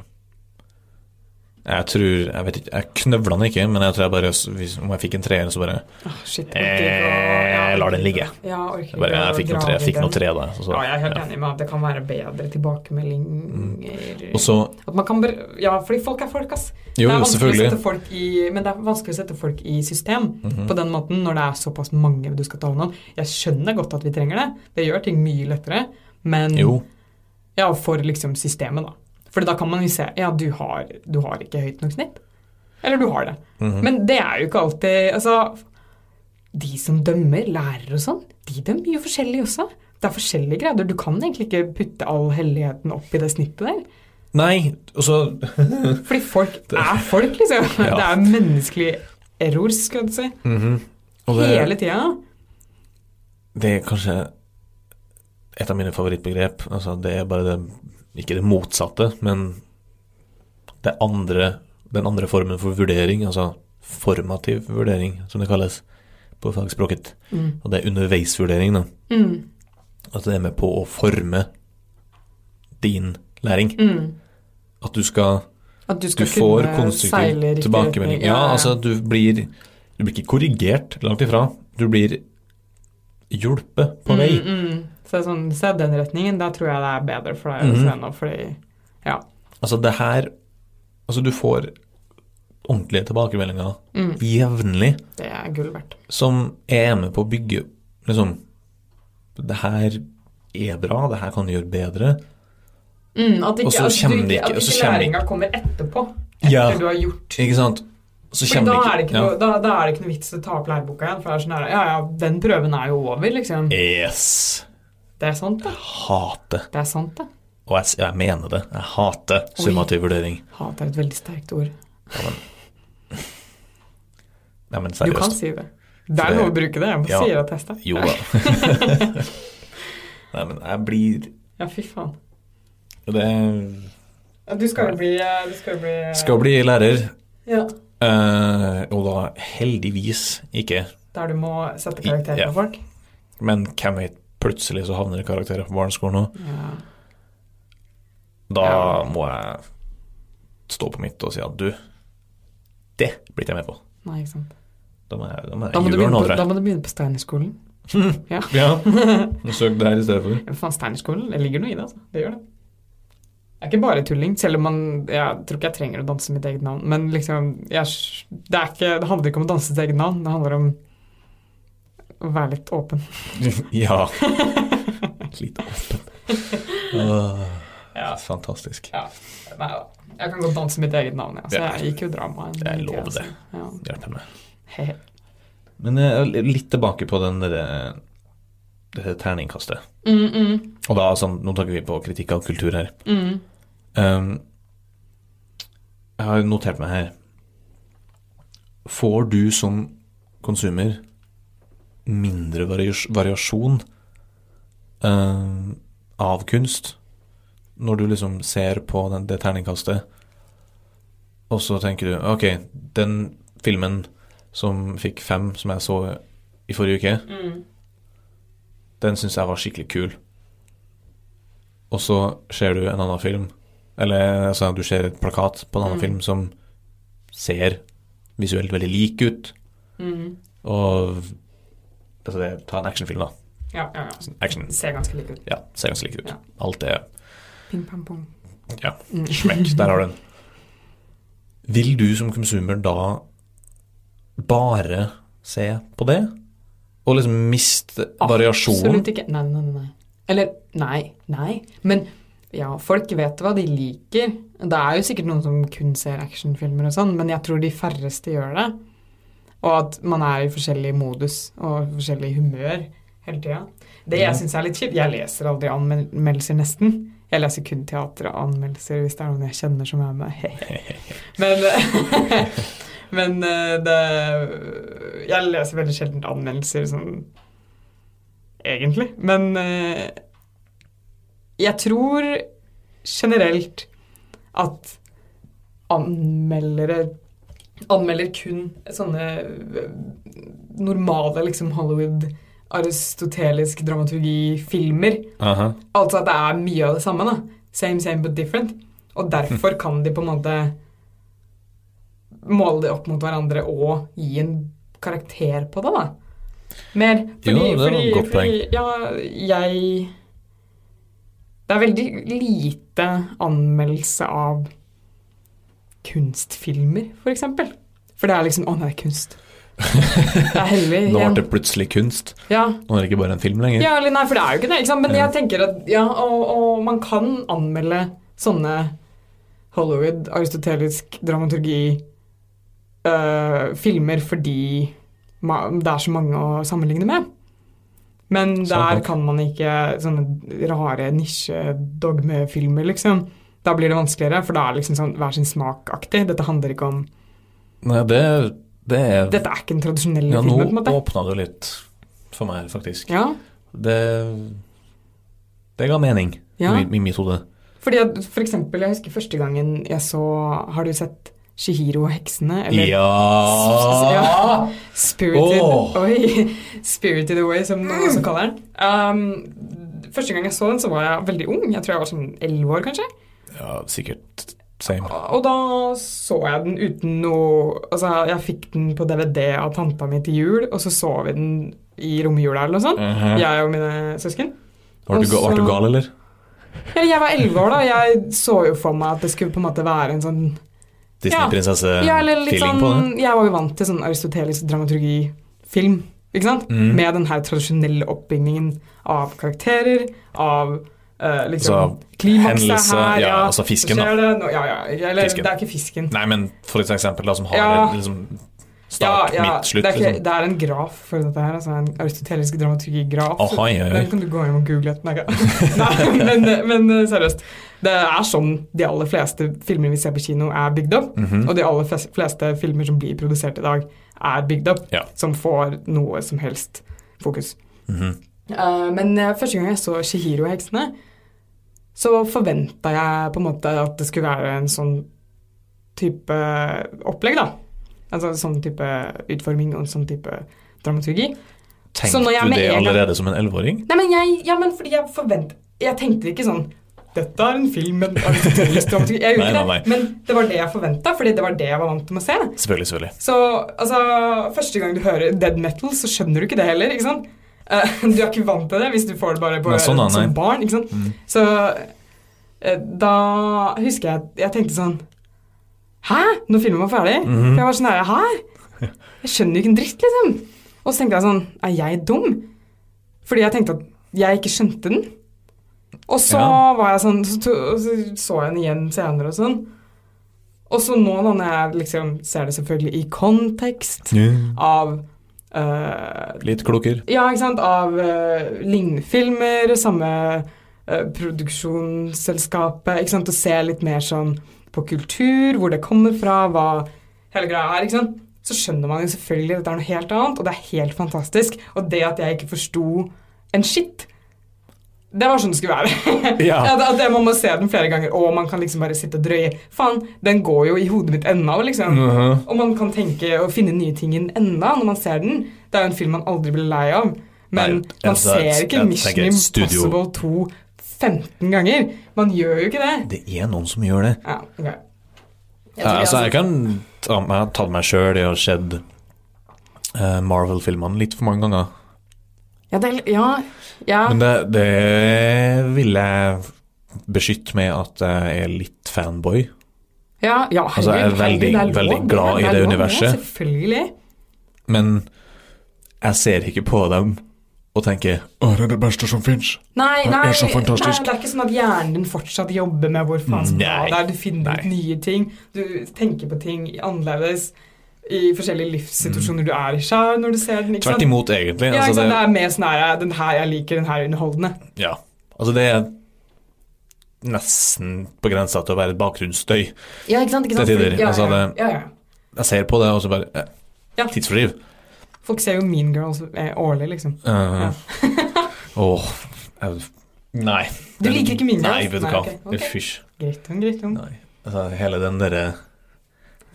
S2: Jeg tror Jeg vet ikke, jeg knøvla den ikke, men jeg tror jeg bare hvis- Om jeg fikk en treer, så bare
S1: Åh, shit. orker ikke å- ja,
S2: eh,
S1: orker
S2: Lar den
S1: ikke.
S2: ligge.
S1: Ja, orker
S2: Jeg, bare,
S1: ikke
S2: jeg
S1: å
S2: fikk noen
S1: dra
S2: tre, jeg
S1: i
S2: fikk
S1: den.
S2: noen tre da. Så, så.
S1: Ja, jeg er helt
S2: ja.
S1: enig med at det kan være bedre tilbakemeldinger
S2: Mm. Og så
S1: At man kan ber Ja, fordi folk er folk, ass. det er
S2: Jo, jo,
S1: vanskelig Å
S2: selvfølgelig.
S1: sette folk i, men det er vanskelig å sette folk i system
S2: Mhm.
S1: på den måten når det er såpass mange du skal ta hånd om. Jeg skjønner godt at vi trenger det. Det gjør ting mye lettere. Men
S2: Jo.
S1: ja, for liksom systemet, da. For da kan man jo se Ja, du har, du har ikke høyt nok snitt. Eller du har det.
S2: mhm.
S1: Men det er jo ikke alltid Altså, de som dømmer, lærere og sånn, de dømmer jo forskjellig også. Det er forskjellige grader. Du kan egentlig ikke putte all helligheten opp i det snittet der.
S2: Nei, og så
S1: Fordi folk er folk, liksom.
S2: Ja.
S1: Det er menneskelig error, skal du si.
S2: mhm. Og
S1: Hele
S2: det,
S1: tida.
S2: det er kanskje et av mine favorittbegrep. Altså, det er bare det Ikke det motsatte, men det andre den andre formen for vurdering, altså formativ vurdering, som det kalles på fagspråket.
S1: Mm.
S2: Og det er underveisvurdering, da.
S1: Mm.
S2: At det er med på å forme din læring.
S1: Mm.
S2: At du skal
S1: At du
S2: Du
S1: skal
S2: får
S1: kunne seile i
S2: konstruktiv
S1: riktig
S2: tilbakemelding.
S1: retning.
S2: Ja, altså, du blir Du blir ikke korrigert, langt ifra. Du blir hjulpet på vei.
S1: Mm, mm. Så det er sånn, se den retningen, da tror jeg det er bedre for deg å
S2: Mhm.
S1: se nå, fordi
S2: Altså, det her Altså, du får ordentlige tilbakemeldinger
S1: mm,
S2: jevnlig
S1: det er gull verdt.
S2: som er med på å bygge liksom Det her er bra, det her kan du gjøre bedre.
S1: Mm, at ikke,
S2: Og så
S1: at
S2: kommer
S1: du,
S2: det ikke-
S1: at
S2: og så
S1: ikke
S2: kommer det
S1: læringa kommer etterpå, etter
S2: Ja.
S1: du har gjort
S2: Ikke sant? Så
S1: Fordi da, er det ikke
S2: ja.
S1: noe, da, da er det ikke noe vits å ta opp læreboka igjen, for det er sånn her, ja ja, den prøven er jo over, liksom.
S2: Yes.
S1: Det er sant, det.
S2: Hater.
S1: Det er sant, det.
S2: Og jeg, jeg mener det. Jeg hater
S1: Oi.
S2: summativ vurdering.
S1: Hat er et veldig sterkt ord.
S2: Nei, men
S1: Du kan
S2: seriøst.
S1: si det. Det
S2: For
S1: er
S2: det-
S1: lov å bruke det. Jeg bare
S2: Ja.
S1: sier at jeg er sterk.
S2: Jo da. Nei, men jeg blir
S1: Ja, fy faen.
S2: Det
S1: Ja, Du skal jo bli eh, Du skal jo bli eh,
S2: skal bli lærer,
S1: Ja.
S2: eh, og da heldigvis ikke.
S1: Der du må sette karakterer
S2: Ja.
S1: på folk.
S2: Men hvem vet, plutselig så havner det karakterer på barneskolen òg.
S1: Ja.
S2: Da
S1: Ja.
S2: må jeg stå på mitt og si at du, det blir ikke jeg med på.
S1: Nei, ikke sant.
S2: Da må jeg, da må
S1: Da må,
S2: jeg
S1: du
S2: gjøre
S1: begynne
S2: noe,
S1: på,
S2: tror
S1: da
S2: jeg.
S1: må du begynne på Steinerskolen.
S2: Ja. Søk der i stedet for.
S1: Ja, faen, Steinerskolen, det ligger noe i det, altså. Det gjør det. Det er ikke bare tulling, selv om man Jeg tror ikke jeg trenger å danse mitt eget navn, men liksom jeg, det, er ikke, det handler ikke om å danse sitt eget navn, det handler om å være litt åpen.
S2: Ja. Litt åpen. Åh, Fantastisk.
S1: Ja. Nei da. Jeg kan godt danse mitt eget navn, ja. Så
S2: Ja.
S1: jeg gikk jo drama. en
S2: Jeg
S1: tid,
S2: lover
S1: altså.
S2: det.
S1: Ja.
S2: Hjelp meg.
S1: He-he.
S2: Men eh, litt tilbake på den derre det her terningkastet.
S1: Mm, mm,
S2: Og da sånn, nå tenker vi på kritikk av kultur her.
S1: mm.
S2: Um, jeg har notert meg her Får du som konsumer mindre varias variasjon um, av kunst når du liksom ser på den, det terningkastet, og så tenker du OK, den filmen som fikk fem, som jeg så i forrige uke,
S1: Mm.
S2: den syns jeg var skikkelig kul. Og så ser du en annen film, eller altså, du ser et plakat på en annen
S1: Mm.
S2: film som ser visuelt veldig lik ut,
S1: Mm.
S2: og altså, det, ta en actionfilm, da.
S1: Ja, ja, ja.
S2: Action.
S1: Sånn, Ser ganske lik ut.
S2: Ja, ser ganske lik ut.
S1: Ja.
S2: Alt er
S1: Ping, pang, pong.
S2: Ja.
S1: Mm.
S2: smekk. Der har du den. Vil du som konsumer da bare se på det? Og liksom miste variasjonen?
S1: Absolutt ikke. Nei, nei, nei, nei. Eller nei, nei. Men Ja, folk vet hva de liker. Det er jo sikkert noen som kun ser actionfilmer og sånn, men jeg tror de færreste gjør det. Og at man er i forskjellig modus og forskjellig humør hele tida. Det
S2: Ja.
S1: jeg syns er litt kjipt Jeg leser aldri anmeldelser, nesten. Jeg leser kun teateranmeldelser hvis det er noen jeg kjenner som er med. men men eh, det Jeg leser veldig sjelden anmeldelser sånn egentlig. Men eh, jeg tror generelt at anmeldere anmelder kun sånne eh, normale liksom Hollywood aristotelisk dramaturgi-filmer.
S2: Aha.
S1: Altså at det er mye av det samme, da. Same, same, but different. Og derfor kan de på en måte måle det opp mot hverandre og gi en karakter på det, da. Mer. Fordi,
S2: Jo, det var et
S1: fordi,
S2: godt
S1: fordi ja, jeg Det er veldig lite anmeldelse av kunstfilmer, for eksempel. For det er liksom Å, nei, kunst. Det er hellig.
S2: Nå
S1: igjen.
S2: ble det plutselig kunst.
S1: Ja.
S2: Nå er det ikke bare en film lenger.
S1: Ja, eller nei, for det er jo ikke det, ikke sant? Men
S2: Ja.
S1: jeg tenker at ja, og, og man kan anmelde sånne Hollywood, aristotelisk dramaturgi, øh, filmer fordi ma det er så mange å sammenligne med. Men
S2: Sant
S1: der
S2: nok.
S1: kan man ikke sånne rare nisjedogmefilmer, liksom. Da blir det vanskeligere, for da er det liksom sånn hver sin smakaktig. Dette handler ikke om
S2: Nei, det, det er
S1: Dette er ikke den tradisjonelle
S2: Ja, nå
S1: filmen, på en måte.
S2: åpna du litt for meg, faktisk.
S1: Ja,
S2: Det, det ga mening
S1: ja.
S2: i, i mitt hode.
S1: Fordi at, for eksempel, jeg husker første gangen jeg så Har du sett Shihiro og heksene? Eller
S2: Ja!
S1: Ja. Spirited,
S2: Åh.
S1: oi, Spirited Away, som noen også kaller den. Um, første gang jeg så den, så var jeg veldig ung. Jeg tror jeg var sånn elleve år, kanskje.
S2: ja, sikkert same.
S1: Og da så jeg den uten noe Altså, jeg fikk den på DVD av tanta mi til jul, og så så vi den i romjula eller noe sånt.
S2: Mhm.
S1: Jeg og mine søsken.
S2: Var, du, ga- var du gal, eller?
S1: Eller jeg var elleve år, da. Jeg så jo for meg at det skulle på en måte være en sånn Ja, eller litt
S2: Disney-prinsesse-feeling Eh, på det?
S1: sånn Jeg var jo vant til sånn aristotelisk dramaturgifilm, ikke sant?
S2: Mm.
S1: Med den her tradisjonelle oppbyggingen av karakterer, av eh, liksom
S2: Altså,
S1: klimakset
S2: hendelse,
S1: her
S2: ja, altså fisken,
S1: så skjer Det, nå- ja, ja, eller
S2: Fisken.
S1: det er ikke fisken.
S2: Nei, men for et eksempel, da, som har
S1: Ja.
S2: en liksom, start,
S1: ja, ja,
S2: midt, slutt,
S1: det, er ikke,
S2: liksom.
S1: det er en graf for dette her, altså en aristotelisk dramaturgigraf.
S2: Aha, ja, ja.
S1: Den kan du gå hjem og google etter. Nei, men, men eh, seriøst. Det er sånn de aller fleste filmer vi ser på kino, er bygd opp.
S2: Mhm.
S1: Og de aller fes- fleste filmer som blir produsert i dag, er bygd opp,
S2: Ja.
S1: som får noe som helst fokus.
S2: Mhm.
S1: Eh, men eh, første gang jeg så Shihiro og heksene, så forventa jeg på en måte at det skulle være en sånn type opplegg, da. Altså en sånn type utforming og en sånn type dramaturgi.
S2: Tenkte
S1: når jeg
S2: du
S1: med
S2: det
S1: en gang-
S2: allerede som en elleveåring?
S1: Nei, men jeg, ja, men fordi jeg forvent... Jeg tenkte ikke sånn Dette er en film med en aristotelisk dramaturgi. Jeg gjorde
S2: Nei,
S1: ikke
S2: nei,
S1: det. Men det var det jeg forventa, fordi det var det jeg var vant til å se.
S2: Selvfølgelig, selvfølgelig.
S1: Så altså, første gang du hører dead metal, så skjønner du ikke det heller. ikke sant? Eh, du er ikke vant til det hvis du får det bare på
S2: Nei, sånn da, nei.
S1: som barn. ikke sant?
S2: Mm.
S1: Så eh, da husker jeg at jeg tenkte sånn Hæ? Når filmen var ferdig?
S2: Mhm.
S1: For jeg var sånn her Hæ? Jeg skjønner jo ikke en dritt, liksom. Og så tenkte jeg sånn Er jeg dum? Fordi jeg tenkte at jeg ikke skjønte den. Og så
S2: Ja.
S1: var jeg sånn så, to, og så så jeg den igjen senere og sånn. Og så nå, da, når jeg liksom ser det selvfølgelig i kontekst av eh,
S2: Litt klokere.
S1: Ja, ikke sant? Av eh, lignende filmer, samme eh, produksjonsselskapet, ikke sant? Og se litt mer sånn på kultur, hvor det kommer fra, hva hele greia er, ikke sant? Så skjønner man jo selvfølgelig at dette er noe helt annet, og det er helt fantastisk. Og det at jeg ikke forsto en shit, det var sånn det skulle være.
S2: Ja.
S1: at, at man må se den flere ganger, og man kan liksom bare sitte og drøye. Faen, den går jo i hodet mitt ennå, liksom.
S2: Mhm.
S1: Og man kan tenke og finne nye ting i den enda når man ser den. Det er jo en film man aldri blir lei av. Men
S2: Nei,
S1: man
S2: altså,
S1: ser ikke
S2: jeg
S1: Mission
S2: tenker studio-
S1: Impossible 2 15 ganger. Man gjør jo ikke det.
S2: Det er noen som gjør det.
S1: Ja, ok. Jeg
S2: Ja,
S1: tror
S2: altså, jeg
S1: jeg-
S2: kan ta meg, ta meg sjøl i å ha sett eh, Marvel-filmene litt for mange ganger.
S1: ja, det, er- ja, ja.
S2: Men det, det vil jeg beskytte med at jeg er litt fanboy.
S1: ja, ja
S2: Altså, jeg er
S1: herregud,
S2: veldig-
S1: herregud, det er lov,
S2: veldig glad i
S1: er
S2: det
S1: lov,
S2: universet.
S1: selvfølgelig.
S2: Men jeg ser ikke på dem og tenker Å, det er det beste som fins.
S1: Nei,
S2: Det
S1: nei,
S2: er så fantastisk.
S1: nei, det er ikke sånn at hjernen din fortsatt jobber med hvor faen som
S2: Nei,
S1: er der. Du finner ut
S2: nei.
S1: nye ting. Du tenker på ting annerledes i forskjellige livssituasjoner du er i sjøl når du ser den. ikke
S2: Mm. Tvert
S1: sant?
S2: imot, egentlig.
S1: Ja, ikke
S2: Altså,
S1: sant? Det
S2: det,
S1: er mer sånn her Den her jeg liker, den her er underholdende.
S2: ja. altså, det er nesten på grensa til å være et bakgrunnsstøy.
S1: Ja, ikke sant?
S2: sant? Til tider, Fordi- ja, altså, ja, det-
S1: ja, ja.
S2: Jeg ser på det, og så bare eh,
S1: Ja.
S2: Tidsfordriv.
S1: Folk ser jo Mean Girls eh, årlig, liksom.
S2: Eh, Åh jeg- Nei.
S1: Du liker ikke Mean Girls?
S2: Nei, vet du hva.
S1: ok,
S2: Det
S1: ok.
S2: er Fysj.
S1: Greit om, greit om.
S2: Nei. Altså, hele den derre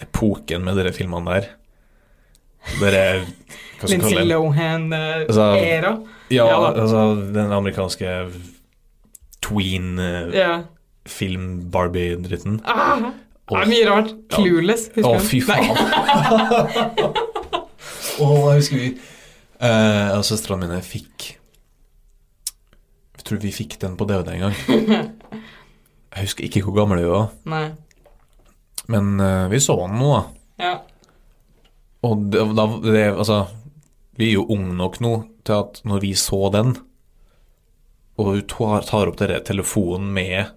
S2: epoken med de filmene der Dere Hva skal vi kalle
S1: Lindsay eh,
S2: det? Altså-
S1: Lohan-era.
S2: Ja,
S1: Ja da.
S2: altså den amerikanske tween-film,
S1: ja.
S2: Barbie-dritten.
S1: ah, det
S2: Åh.
S1: er mye rart.
S2: Ja.
S1: Clueless, husker
S2: Å,
S1: du?
S2: fy
S1: Nei.
S2: faen. Å, jeg husker vi eh, Og søstrene mine fikk Jeg tror vi fikk den på DVD en gang. Jeg husker ikke hvor gammel vi var,
S1: Nei.
S2: men eh, vi så den nå, da.
S1: Ja.
S2: Og det, da, det, altså, vi er jo unge nok nå til at når vi så den, og hun tar, tar opp dere telefonen med,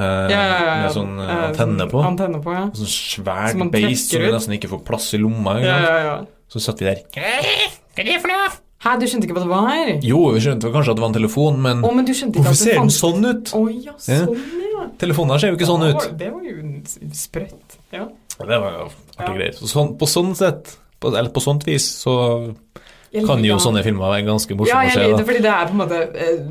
S2: eh,
S1: Ja, ja, ja.
S2: med sånn eh,
S1: Eh,
S2: antenne på,
S1: Antenne på, ja.
S2: sånn svær
S1: Som man
S2: beist som
S1: trekker
S2: du
S1: ut.
S2: nesten ikke får plass i lomma, ikke
S1: Ja,
S2: sant?
S1: ja, ja.
S2: så satt vi der. Hva er det for noe?
S1: Hæ, du skjønte ikke hva det var? Å,
S2: Jo, vi skjønte vel kanskje at det var en telefon, men
S1: men du skjønte ikke at
S2: hvorfor
S1: det
S2: ser den
S1: fantes
S2: sånn ut?
S1: Å ja, sånn, ja.
S2: Telefonen her ser jo ikke sånn
S1: Ja,
S2: ut.
S1: Det var jo s- sprøtt. Ja.
S2: Det var jo
S1: Ja.
S2: artig greier. Så Sånn, på sånn sett, på, eller på sånt vis, så
S1: Jeg
S2: kan
S1: liker
S2: jo
S1: det.
S2: sånne filmer være ganske
S1: Ja,
S2: morsomme
S1: jeg
S2: å se.
S1: liker
S2: da.
S1: det, fordi det er på en måte eh,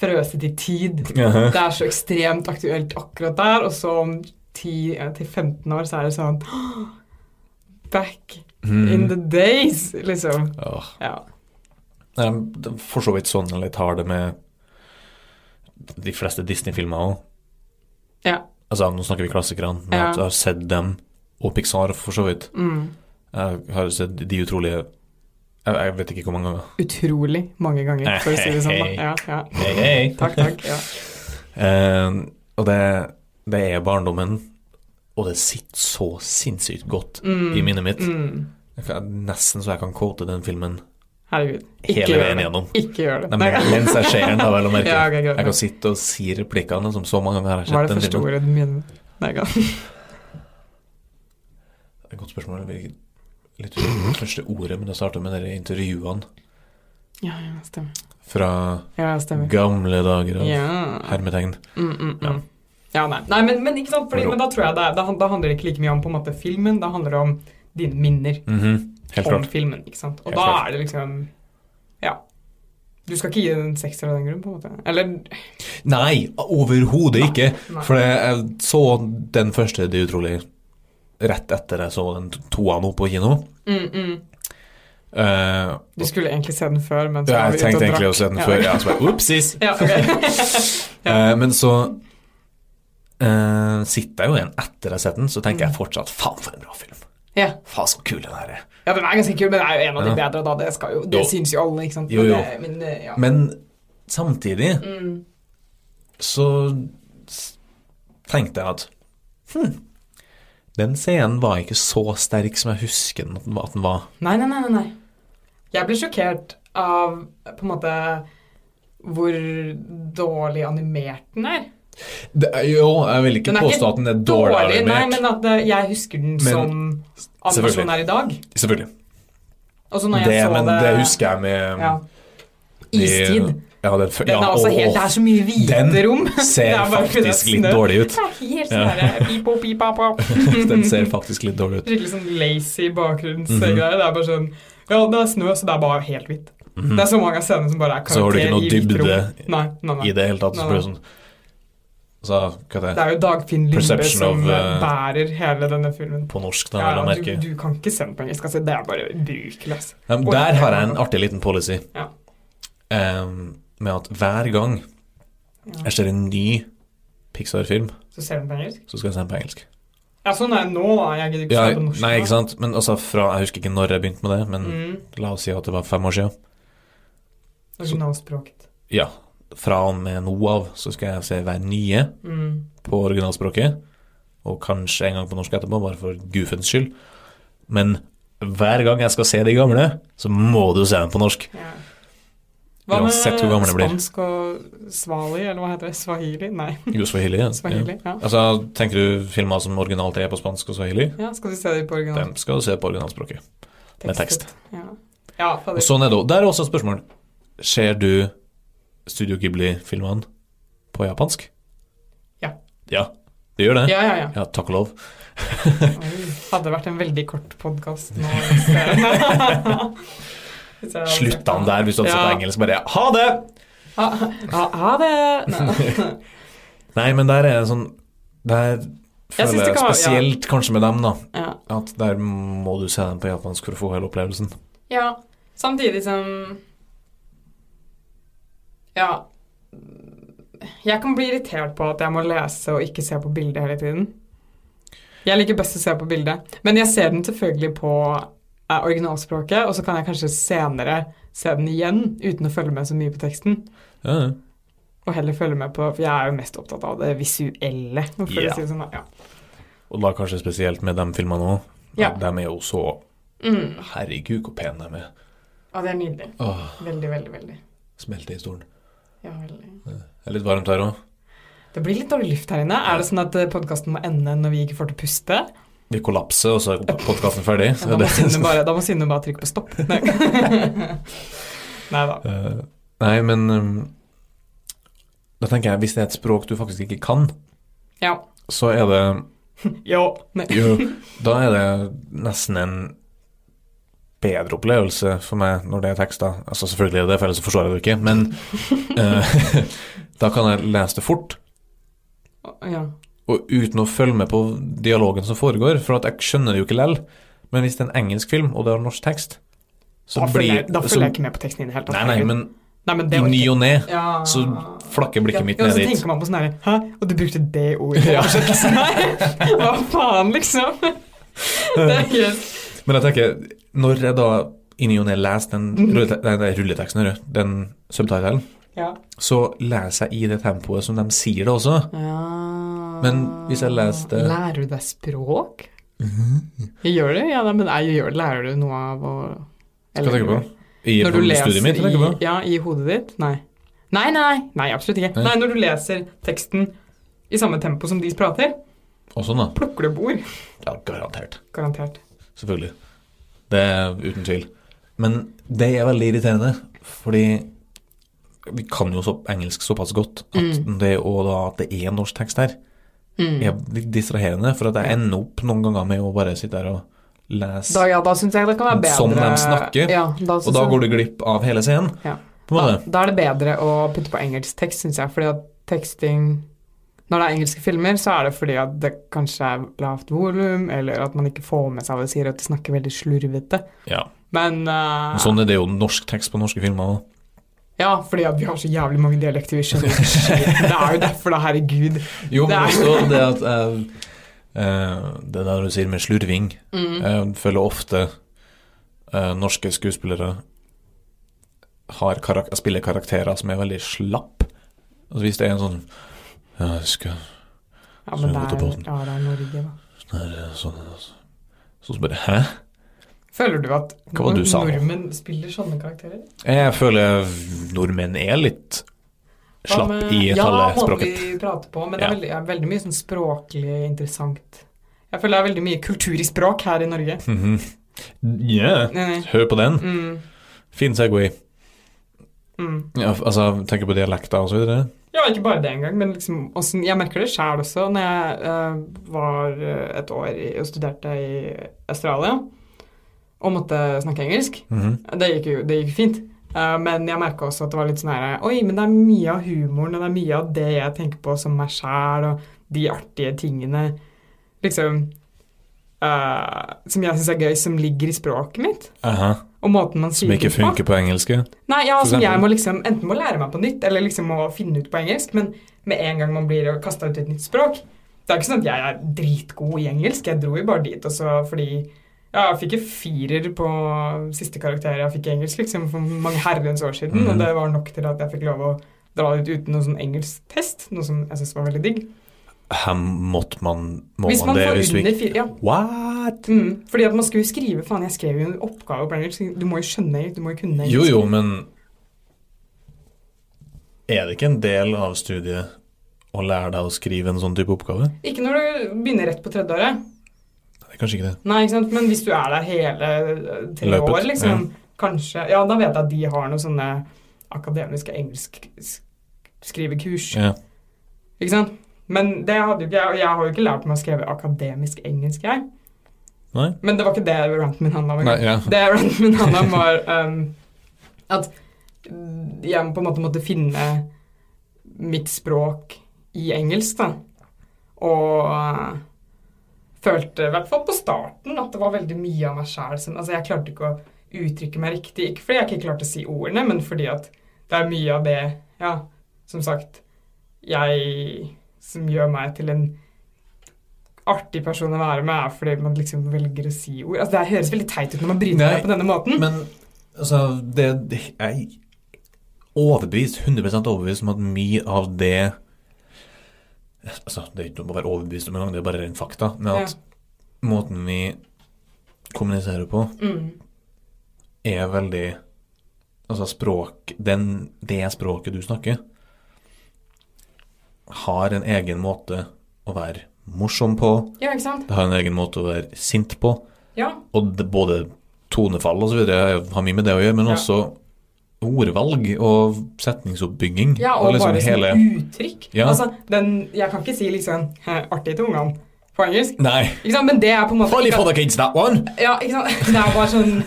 S1: frøset i tid.
S2: Jaha.
S1: Det er så ekstremt aktuelt akkurat der, og så om 10-15 år så er det sånn Back in
S2: Mm.
S1: the days, liksom.
S2: Åh.
S1: Ja.
S2: Nei, det er for så vidt sånn jeg litt har det med de fleste Disney-filmer òg.
S1: Ja.
S2: Altså, nå snakker vi klassikerne, men
S1: Ja.
S2: at jeg har sett dem, og Pixar for så vidt.
S1: Mm.
S2: Jeg har sett De utrolige Jeg, jeg vet ikke hvor mange ganger.
S1: Utrolig mange ganger, for å si det sånn. Da. Ja, ja.
S2: Hei, hei.
S1: Takk, takk. Ja.
S2: Eh, og det, det er barndommen, og det sitter så sinnssykt godt i minnet mitt.
S1: Mm.
S2: Jeg kan- Nesten så jeg kan quote den filmen
S1: Herregud.
S2: hele
S1: gjør
S2: veien
S1: det.
S2: gjennom.
S1: Ikke gjør det.
S2: Nei, men mens jeg ser den, da, vel å merke.
S1: Ja, ok, greit.
S2: Jeg kan sitte og si replikkene som så mange ganger har jeg
S1: Hva er
S2: sett
S1: det
S2: den
S1: første
S2: filmen.
S1: ordet du mener? Nei, ga.
S2: Det er Et godt spørsmål. Jeg blir ikke- litt usikker på det første ordet, men det starter med de intervjuene
S1: Ja, ja, stemmer.
S2: fra
S1: Ja, stemmer.
S2: gamle dager av
S1: Ja.
S2: hermetegn.
S1: Mm, mm,
S2: Ja.
S1: mm. Ja, nei, nei men, men ikke sant, fordi,
S2: Moro.
S1: men da tror jeg det er, da, han- da handler det ikke like mye om på en måte filmen, da handler det om dine minner
S2: Mhm, Helt
S1: om
S2: klart.
S1: filmen, ikke sant? Og
S2: Helt
S1: da
S2: klart.
S1: er det liksom, ja, du skal ikke gi den en sekser av den grunn på en måte, eller,
S2: Nei, overhodet ikke!
S1: Ah, nei.
S2: For jeg så den første Det utrolig rett etter jeg så den toa nå på kino.
S1: Mm, mm.
S2: Eh,
S1: Du skulle egentlig se den før, men så
S2: ja,
S1: var vi
S2: jeg
S1: ute og
S2: tenkte egentlig
S1: drakk.
S2: å se den
S1: Ja.
S2: før. Ja, så bare, Upsis!
S1: Ja, ok. Ja.
S2: Eh, men så eh, sitter jeg jo igjen etter jeg har sett den, så tenker jeg
S1: Mm.
S2: fortsatt faen for en bra film.
S1: ja.
S2: Faen så kul den her er.
S1: ja, den er ganske kul, men det er jo en av de
S2: Ja.
S1: bedre da, det, skal jo, det
S2: Jo.
S1: synes jo alle, ikke sant?
S2: Jo, jo.
S1: Men, det, men, det- ja.
S2: Men samtidig
S1: mm.
S2: så s- tenkte jeg at hm, den scenen var ikke så sterk som jeg husker den at den var. At den var.
S1: Nei, nei, nei, nei, nei. Jeg ble sjokkert av på en måte hvor dårlig animert den er.
S2: Det, er- jo, jeg vil ikke
S1: Den er
S2: påstå
S1: ikke
S2: at den er dårlig
S1: Nei,
S2: animert.
S1: men at det, jeg husker den som animasjonen er i dag.
S2: Selvfølgelig.
S1: Og så når jeg
S2: Det,
S1: så
S2: men
S1: det,
S2: det husker jeg med
S1: ja.
S2: de-
S1: Istid.
S2: Ja, den, fø-
S1: Den
S2: ja,
S1: er også
S2: og-
S1: helt, det er så mye
S2: den
S1: hvite rom. Det
S2: ser
S1: er bare fordi det er
S2: faktisk litt
S1: snø.
S2: dårlig ut.
S1: Det er helt sånn her, pipo, pipa, pop.
S2: Den ser faktisk litt dårlig ut.
S1: Skikkelig sånn lazy
S2: Mhm.
S1: bakgrunnsgreier. Det er bare sånn Ja, det er snø, så det er bare helt hvitt. Det er så mange scener som bare er
S2: Så har du ikke noe
S1: i hvitt rom.
S2: dybde
S1: Nei, nei, nei.
S2: I det hele tatt. Så
S1: Nei,
S2: blir
S1: nei.
S2: det sånn Så hva heter
S1: Det
S2: det
S1: er jo Dagfinn Lyngbø
S2: Perception
S1: som
S2: of,
S1: eh,
S2: eh,
S1: bærer hele denne filmen.
S2: på norsk, da, vel å
S1: Ja, du,
S2: merke.
S1: du kan ikke se den på engelsk. Altså, det er bare altså. brukeløs.
S2: Ja, men
S1: Og-
S2: der har jeg en artig liten policy.
S1: Ja.
S2: Ehm, med at hver gang
S1: Ja.
S2: jeg ser en ny Pixar-film,
S1: Så ser du den på engelsk?
S2: så skal jeg se den på engelsk.
S1: Ja, sånn er det nå, da. Jeg gidder ikke
S2: Ja,
S1: se den på norsk.
S2: nei,
S1: da.
S2: ikke sant? Men altså fra Jeg husker ikke når jeg begynte med det, men
S1: Mm,
S2: la oss si at det var fem år siden.
S1: originalspråket.
S2: Ja. Fra og med nå av så skal jeg se hver nye
S1: Mm.
S2: på originalspråket, og kanskje en gang på norsk etterpå, bare for goofens skyld. Men hver gang jeg skal se de gamle, så må du se dem på norsk.
S1: Ja. Hva med
S2: Uansett hvor gammel det blir.
S1: spansk og svali, eller hva heter det? Swahili? Nei,
S2: Jo, swahili. Ja. Ja.
S1: swahili. Ja.
S2: Altså, tenker du filmer som originalt er på spansk og swahili?
S1: ja, skal vi se det på original
S2: Dem skal du se på originalspråket. med tekst.
S1: Ja, ja
S2: Og
S1: fader.
S2: sånn er det også. Der er også et spørsmål. Ser du Studio Ghibli-filmene på japansk?
S1: Ja.
S2: Ja, det gjør det?
S1: Ja, ja, ja.
S2: Ja, takk og lov.
S1: Oi, Hadde vært en veldig kort podkast nå. hvis jeg- Hvis jeg hadde
S2: Slutta han der hvis du hadde
S1: Ja.
S2: sett på engelsk? Bare ha det!
S1: Ha, ha, ha det! Nei.
S2: Nei, men der er det sånn Der
S1: Jeg syns
S2: føler
S1: det
S2: jeg
S1: kan være-
S2: spesielt kanskje med dem, da,
S1: Ja.
S2: at der må du se dem på japansk for å få hele opplevelsen.
S1: ja. Samtidig som Ja. Jeg kan bli irritert på at jeg må lese og ikke se på bildet hele tiden. Jeg liker best å se på bildet, men jeg ser den selvfølgelig på eh, originalspråket, og så kan jeg kanskje senere se den igjen uten å følge med så mye på teksten.
S2: Ja, ja.
S1: Og heller følge med på For jeg er jo mest opptatt av det visuelle. For
S2: Ja.
S1: å si det sånn, da. ja.
S2: Og da kanskje spesielt med de filmene òg.
S1: Ja.
S2: De er jo så
S1: Mm.
S2: Herregud, hvor pene de er.
S1: ja, det er nydelig.
S2: Åh,
S1: Veldig, veldig, veldig.
S2: smelter i stolen.
S1: Ja, veldig.
S2: Det er litt varmt her òg.
S1: Det blir litt dårlig luft her inne. Er det sånn at podkasten må ende når vi ikke får til å puste?
S2: Vi kollapser, og så er podkasten ferdig.
S1: Ja, Da må
S2: sånn.
S1: Synne bare, da må Synne bare trykke på stopp. Nei da.
S2: Eh, nei, men um, Da tenker jeg, hvis det er et språk du faktisk ikke kan,
S1: Ja.
S2: så er det
S1: Jo. Nei.
S2: Jo, da er det nesten en bedre opplevelse for meg når det er tekster. Altså selvfølgelig er det det, for ellers så forstår jeg det jo ikke, men eh, da kan jeg lese det fort.
S1: Ja.
S2: Og uten å følge med på dialogen som foregår, for at jeg skjønner det jo ikke lell. Men hvis det er en engelsk film, og det har norsk tekst, så
S1: Da følger jeg,
S2: blir
S1: da
S2: så,
S1: følger jeg ikke med på teksten i det hele tatt.
S2: Nei, nei, men
S1: Nei, men
S2: i
S1: det var
S2: ny
S1: ikke-
S2: og ne
S1: Ja.
S2: så flakker blikket mitt
S1: ja,
S2: ned
S1: så
S2: dit.
S1: tenker man på sånn her Hæ, og du brukte det ordet i
S2: Ja.
S1: oversettelsen her? Hva faen, liksom? Det er helt
S2: Men jeg tenker, når jeg da i ny og ne leser
S1: Mm.
S2: den, rulle- nei, det er rulleteksten, hører du, den subtitelen,
S1: Ja.
S2: så leser jeg i det tempoet som de sier det også. Men hvis jeg leste-
S1: Ah. Lærer du deg språk? Jeg gjør det, ja, da, men jeg gjør, lærer du noe av å
S2: Skal jeg tenke på? I
S1: Når du leser
S2: studiet mitt, tenker jeg på.
S1: i, ja, i hodet ditt? Nei. Nei, nei, nei, absolutt ikke.
S2: Nei.
S1: Nei, når du leser teksten i samme tempo som de prater,
S2: Og sånn da.
S1: plukker du opp ord.
S2: Ja, garantert.
S1: Garantert.
S2: Selvfølgelig. Det er uten tvil. Men det er veldig irriterende, fordi vi kan jo så engelsk såpass godt at det, og da, at det er norsk tekst her,
S1: Mm.
S2: er litt distraherende. For at jeg ender opp noen ganger med å bare sitte her og lese.
S1: Da, ja, da syns jeg det kan være bedre
S2: Som sånn de snakker,
S1: Ja, da
S2: og da går du glipp av hele scenen,
S1: sånn- Ja.
S2: på en
S1: Da,
S2: måte.
S1: da er det bedre å putte på engelsk tekst, syns jeg. Fordi at teksting Når det er engelske filmer, så er det fordi at det kanskje er lavt volum, eller at man ikke får med seg hva de sier, at de snakker veldig slurvete.
S2: Ja.
S1: Men eh,
S2: Men Sånn er det jo norsk tekst på norske filmer òg.
S1: Ja, fordi at vi har så jævlig mange dialekter, vi skjønner ikke shit. Det er jo derfor, da, herregud.
S2: Jo, men
S1: Det er-
S2: også det at eh, eh, Det der du sier med slurving Jeg føler ofte eh, norske skuespillere har karak spiller karakterer som er veldig slapp. Altså hvis det er en sånn ja, jeg skal,
S1: Ja, men det
S2: Slurvete
S1: er,
S2: båten.
S1: ja, det er Norge, da.
S2: sånn, her, sånn, sånn. Så bare Hæ?
S1: Føler du at
S2: Hva var det du sa nå?
S1: nordmenn spiller sånne karakterer?
S2: Jeg føler nordmenn er litt
S1: Hva
S2: slapp
S1: med-
S2: i
S1: Ja,
S2: talespråket.
S1: måten vi prater på, men det er
S2: Ja.
S1: veldig, er veldig mye sånn språklig interessant. Jeg føler det er veldig mye kultur i språk her i Norge.
S2: Mhm. Yeah.
S1: Nei, nei.
S2: Hør på den.
S1: Mm,
S2: Fin Segway.
S1: mm.
S2: Ja, altså, tenker på dialekter og så videre.
S1: Ja, ikke bare det engang, men liksom åssen- Jeg merker det sjæl også. Når jeg eh, var eh, et år i, og studerte i Australia og måtte snakke engelsk
S2: Mhm.
S1: Det gikk jo det gikk fint. Eh, men jeg merka også at det var litt sånn her Oi, men det er mye av humoren, og det er mye av det jeg tenker på som meg sjæl, og de artige tingene liksom eh, Som jeg syns er gøy, som ligger i språket mitt,
S2: Aha.
S1: og måten man
S2: Som
S1: sier
S2: ikke
S1: ting på.
S2: funker på engelske.
S1: Nei, ja,
S2: For
S1: som jeg
S2: eksempel.
S1: må liksom enten må lære meg på nytt, eller liksom må finne ut på engelsk, men med en gang man blir kasta ut i et nytt språk Det er ikke sånn at jeg er dritgod i engelsk, jeg dro jo bare dit, og så fordi ja, jeg fikk jo firer på siste karakter jeg fikk i engelsk liksom, for mange herrens år siden.
S2: Mhm.
S1: Og det var nok til at jeg fikk lov å dra ut uten noen sånn engelsktest, noe som jeg syntes var veldig digg.
S2: Her måtte man, må
S1: Hvis
S2: man,
S1: man
S2: det
S1: får
S2: hvis du
S1: under
S2: ikke
S1: fire, ja.
S2: What?
S1: Mm, fordi at man skulle jo skrive Faen, jeg skrev jo en oppgave på engelsk. Du må jo skjønne, du må jo kunne engelsk.
S2: Jo, jo, men Er det ikke en del av studiet å lære deg å skrive en sånn type oppgave?
S1: Ikke når du begynner rett på tredje året.
S2: Det er kanskje ikke det.
S1: Nei, ikke sant? Men hvis du er der hele eh, tre
S2: Løpet,
S1: år, liksom, kanskje Ja, da vet jeg at de har noen sånne akademiske engelskskrivekurs.
S2: Ja.
S1: Ikke sant? Men det hadde jo ikke jeg, og jeg har jo ikke lært meg å skrive akademisk engelsk, jeg.
S2: Nei?
S1: Men det var ikke det ranten min handla om.
S2: Nei,
S1: engang.
S2: ja.
S1: Det ranten min handla om, var ehm, at jeg på en måte måtte finne mitt språk i engelsk, da. Og eh, følte, i hvert fall på starten, at det var veldig mye av meg sjæl som Altså, jeg klarte ikke å uttrykke meg riktig. Ikke fordi jeg ikke klarte å si ordene, men fordi at det er mye av det, ja, som sagt, jeg Som gjør meg til en artig person å være med, er fordi man liksom velger å si ord. Altså, det høres veldig teit ut når man bryner
S2: Nei,
S1: seg på denne måten.
S2: Men altså, det, det er overbevist, 100 overbevist om at mye av det Altså, det er ikke noe å være overbevist om engang, det er bare ren fakta. Men at måten vi kommuniserer på,
S1: Mm.
S2: er veldig Altså språk den, Det språket du snakker, har en egen måte å være morsom på.
S1: Ja, ikke sant?
S2: Det har en egen måte å være sint på.
S1: Ja.
S2: Og det, både tonefall og så videre har mye med det å gjøre, men
S1: Ja.
S2: også ordvalg og setningsoppbygging.
S1: Ja, og,
S2: liksom
S1: bare
S2: hele
S1: sånn uttrykk.
S2: Ja.
S1: Altså, den, jeg kan ikke si liksom «Hæ, 'artig til ungene' på engelsk.
S2: Nei.
S1: Ikke sant? Men det er på en måte
S2: Funny
S1: ikke-
S2: for the kids, that one!
S1: Ja, ikke sant? Det er bare sånn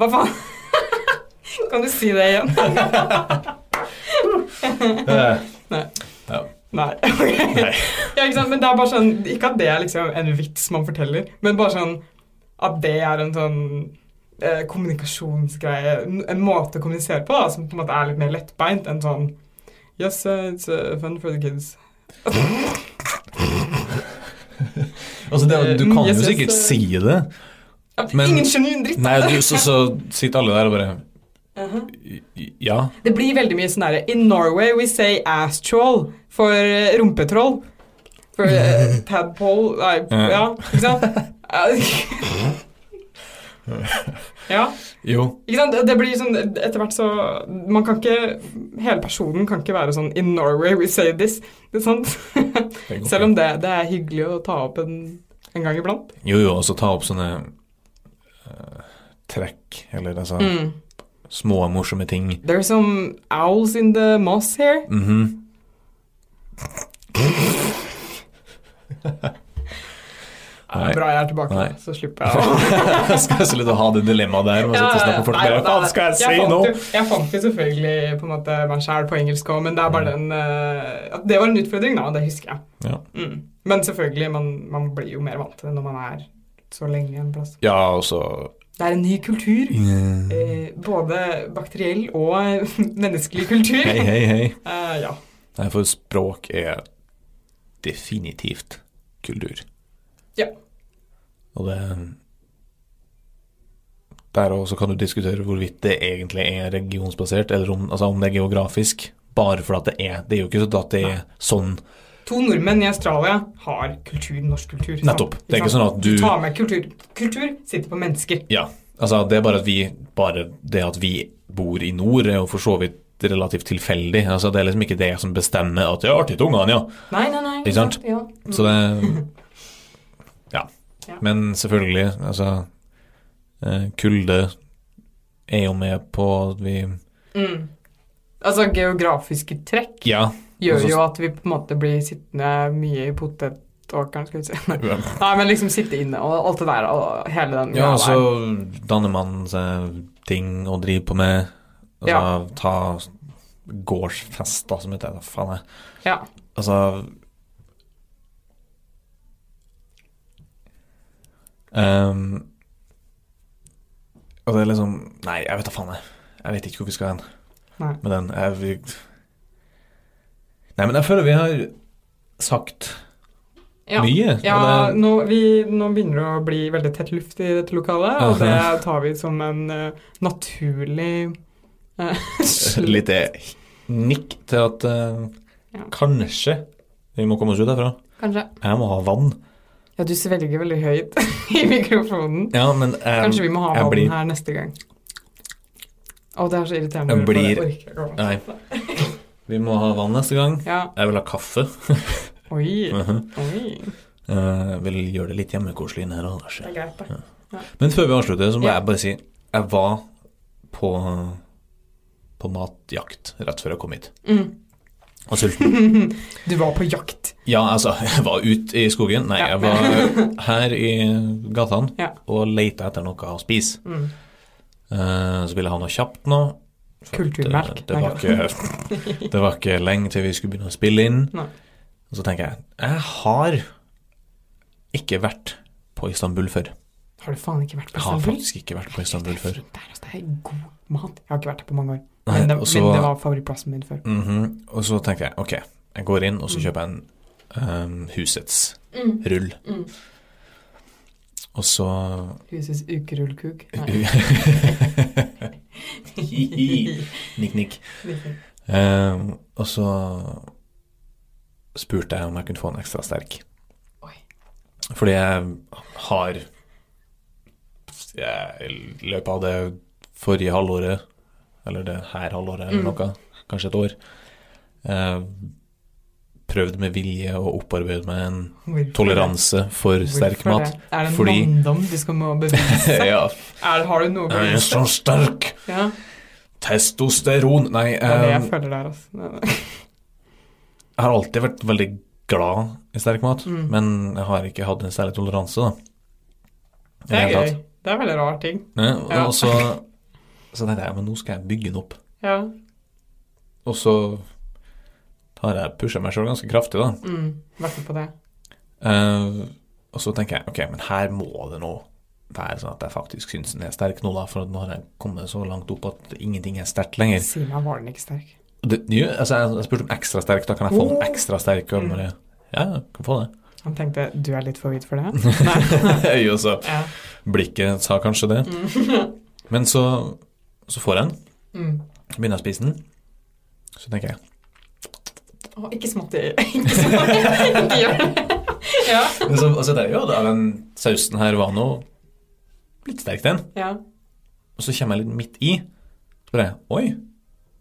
S1: Hva faen? Kan du si det igjen?
S2: Eh,
S1: Nei.
S2: Ja.
S1: Nei. ok.
S2: Nei.
S1: Ja, ikke sant? Men det er bare sånn Ikke at det er liksom en vits man forteller, men bare sånn at det er en sånn eh, kommunikasjonsgreie, n- en måte å kommunisere på da, som på en måte er litt mer lettbeint enn sånn Yes, uh, it's uh, fun for the kids.
S2: Altså, det, du
S1: Mm,
S2: kan
S1: yes,
S2: jo
S1: yes,
S2: sikkert
S1: eh.
S2: si det.
S1: Ja,
S2: Men-
S1: Ingen skjønner jo en dritt!
S2: Nei, du, så, så sitter alle der og bare
S1: Uh-huh.
S2: Ja.
S1: Det blir veldig mye sånn derre In Norway we say ass troll for eh, rumpetroll. For eh, tadpole Nei,
S2: Ja.
S1: ja, ikke sant? ja.
S2: Jo.
S1: Ikke sant? Det blir sånn Etter hvert så Man kan ikke Hele personen kan ikke være sånn In Norway we say this. Det er sant?
S2: det går
S1: Selv om det, det er hyggelig å ta opp en, en gang iblant.
S2: fint. Jo, jo, og så ta opp sånne eh, trekk, eller altså
S1: Mm.
S2: små, morsomme ting.
S1: There are some owls in the moss here.
S2: Mhm. Nei.
S1: Bra jeg er tilbake,
S2: Nei.
S1: så slipper jeg å
S2: skal jeg slutte å ha det dilemmaet der? Med å sitte og snakke med folk
S1: Nei,
S2: bare,
S1: nei,
S2: Faen,
S1: nei.
S2: skal jeg si
S1: fant
S2: nå?
S1: jo- Jeg fant jo selvfølgelig på en måte meg sjæl på engelsk òg, men det er bare den eh, at Det var en utfordring, da. Det husker jeg.
S2: Mm. Ja.
S1: Mm. Men selvfølgelig, man, man blir jo mer vant til det når man er så lenge en plass.
S2: Ja, og så
S1: Det er en ny kultur.
S2: Hei,
S1: Eh, både bakteriell og menneskelig kultur.
S2: hei, hei.
S1: Eh, ja.
S2: Nei, for språk er definitivt kultur.
S1: Ja.
S2: Og det Der òg så kan du diskutere hvorvidt det egentlig er regionsbasert, eller om, altså om det er geografisk. Bare for at det er. Det er jo ikke sånn at det er sånn
S1: To nordmenn i Australia har kultur, norsk kultur. sant?
S2: Nettopp. Det er ikke sånn at
S1: Du
S2: du
S1: tar med kultur. Kultur sitter på mennesker.
S2: Ja. Altså, det er bare at vi Bare det at vi bor i nord, er jo for så vidt relativt tilfeldig. Altså, det er liksom ikke det som bestemmer at det er artig til ungene, ja.
S1: Nei, nei, nei.
S2: Ikke sant?
S1: Ja. Mm.
S2: Så det Ja.
S1: Ja.
S2: Men selvfølgelig, altså eh, Kulde er jo med på at vi
S1: Mm. Altså, geografiske trekk
S2: Ja.
S1: gjør
S2: Altså,
S1: jo at vi på en måte blir sittende mye i potetåkeren, skal vi si.
S2: Ja,
S1: Nei, men liksom sitte inne og alt det der og hele den greia
S2: og så
S1: der.
S2: altså, danner man seg ting å drive på med. Altså,
S1: Ja.
S2: Ta gårdsfester, som heter det. hva Faen, jeg.
S1: Ja.
S2: Altså Ehm, Og det er liksom Nei, jeg vet da faen, jeg. Jeg vet ikke hvor vi skal hen
S1: Nei.
S2: med den. Jeg, vi, nei, men jeg føler vi har sagt
S1: Ja.
S2: mye.
S1: Ja,
S2: og det,
S1: nå, vi, nå begynner det å bli veldig tett luft i dette lokalet, og det tar vi som en eh, naturlig eh, slutt.
S2: lite nikk til at eh,
S1: Ja.
S2: kanskje vi må komme oss ut herfra.
S1: Kanskje.
S2: Jeg må ha vann.
S1: Ja, du svelger veldig høyt i mikrofonen.
S2: Ja, men eh,
S1: Kanskje vi må ha
S2: jeg
S1: vann
S2: blir-
S1: her neste gang. Å, det er så irriterende.
S2: Jeg
S1: å høre på det.
S2: blir-
S1: Orker jeg ikke å-
S2: Nei. Vi må ha vann neste gang.
S1: Ja.
S2: Jeg vil ha kaffe.
S1: Oi.
S2: Mhm.
S1: Oi.
S2: Eh, vil gjøre det litt hjemmekoselig inne her. Anders.
S1: Det er greit, da.
S2: Men før vi avslutter, så må
S1: Ja.
S2: jeg bare si jeg var på, på matjakt rett før jeg kom hit.
S1: Mm.
S2: Og sulten.
S1: Du var på jakt.
S2: Ja, altså, jeg var ute i skogen. Nei,
S1: Ja.
S2: jeg var her i gatene
S1: Ja.
S2: og leita etter noe å spise.
S1: Mm.
S2: Eh, så ville jeg ha noe kjapt nå. for at,
S1: Kulturmelk.
S2: eh, Det, var ikke, det var ikke lenge til vi skulle begynne å spille inn.
S1: Nei.
S2: Og så tenker jeg jeg har ikke vært på Istanbul før.
S1: Har du faen ikke vært på
S2: Jeg har
S1: Istanbul?
S2: faktisk ikke vært på Istanbul
S1: Det er
S2: før.
S1: fint der, altså. Det er god mat. Jeg har ikke vært der på mange år.
S2: Nei,
S1: men, det,
S2: og så-
S1: men det var favorittplassen min før.
S2: Mhm, Og så tenkte jeg, ok, jeg går inn og så
S1: Mm.
S2: kjøper jeg en um, husets
S1: Mm.
S2: rull.
S1: Mm.
S2: Og så
S1: Husets ukerullkuk. Nei.
S2: Nikk, nikk. Um, og så spurte jeg om jeg kunne få en ekstra sterk.
S1: Oi.
S2: Fordi jeg har jeg, I løpet av det forrige halvåret, eller det her halvåret eller
S1: Mm.
S2: noe, kanskje et år, eh, prøvd med vilje å opparbeide meg en
S1: Hvorfor
S2: toleranse for
S1: det?
S2: sterk
S1: Hvorfor
S2: mat.
S1: det? Er det en
S2: fordi-
S1: manndom du skal må bevise?
S2: ja,
S1: er, har du noe å
S2: jeg er
S1: bevise?
S2: så sterk!
S1: Ja,
S2: Testosteron! Nei,
S1: det er det jeg
S2: eh,
S1: føler der, altså.
S2: Jeg har alltid vært veldig glad i sterk mat,
S1: Mm.
S2: men jeg har ikke hatt en særlig toleranse, da. I
S1: Det er
S2: hele
S1: gøy.
S2: tatt.
S1: Det er veldig rar ting.
S2: Ja, og-
S1: Ja.
S2: Og så, så tenkte jeg, men nå skal jeg bygge den opp.
S1: Ja.
S2: Og så har jeg pusha meg sjøl ganske kraftig, da.
S1: Mm. Vært med på det.
S2: Eh, og så tenker jeg, ok, men her må det nå være sånn at jeg faktisk syns den er sterk nå, da. For at nå har jeg kommet så langt opp at ingenting er sterkt lenger.
S1: Si meg, var den ikke sterk?
S2: Og Det, jo, altså, jeg, jeg spurte om ekstra sterk, da kan jeg få den
S1: Oh.
S2: ekstra sterk? Og
S1: Mm.
S2: bare, ja, jeg kan få det.
S1: Han tenkte du er litt for hvit for det? Nei.
S2: jo, så
S1: Ja.
S2: Blikket sa kanskje det.
S1: Mm.
S2: Men så, så får jeg den,
S1: Mm.
S2: så begynner jeg å spise den. Så tenker jeg
S1: Å, ikke smått i Ikke smått i Ikke gjør det. Ja.
S2: men så, Og så der, ja, da, den sausen her var nå litt sterk, den.
S1: ja.
S2: Og så kommer jeg litt midt i. Så bare Oi,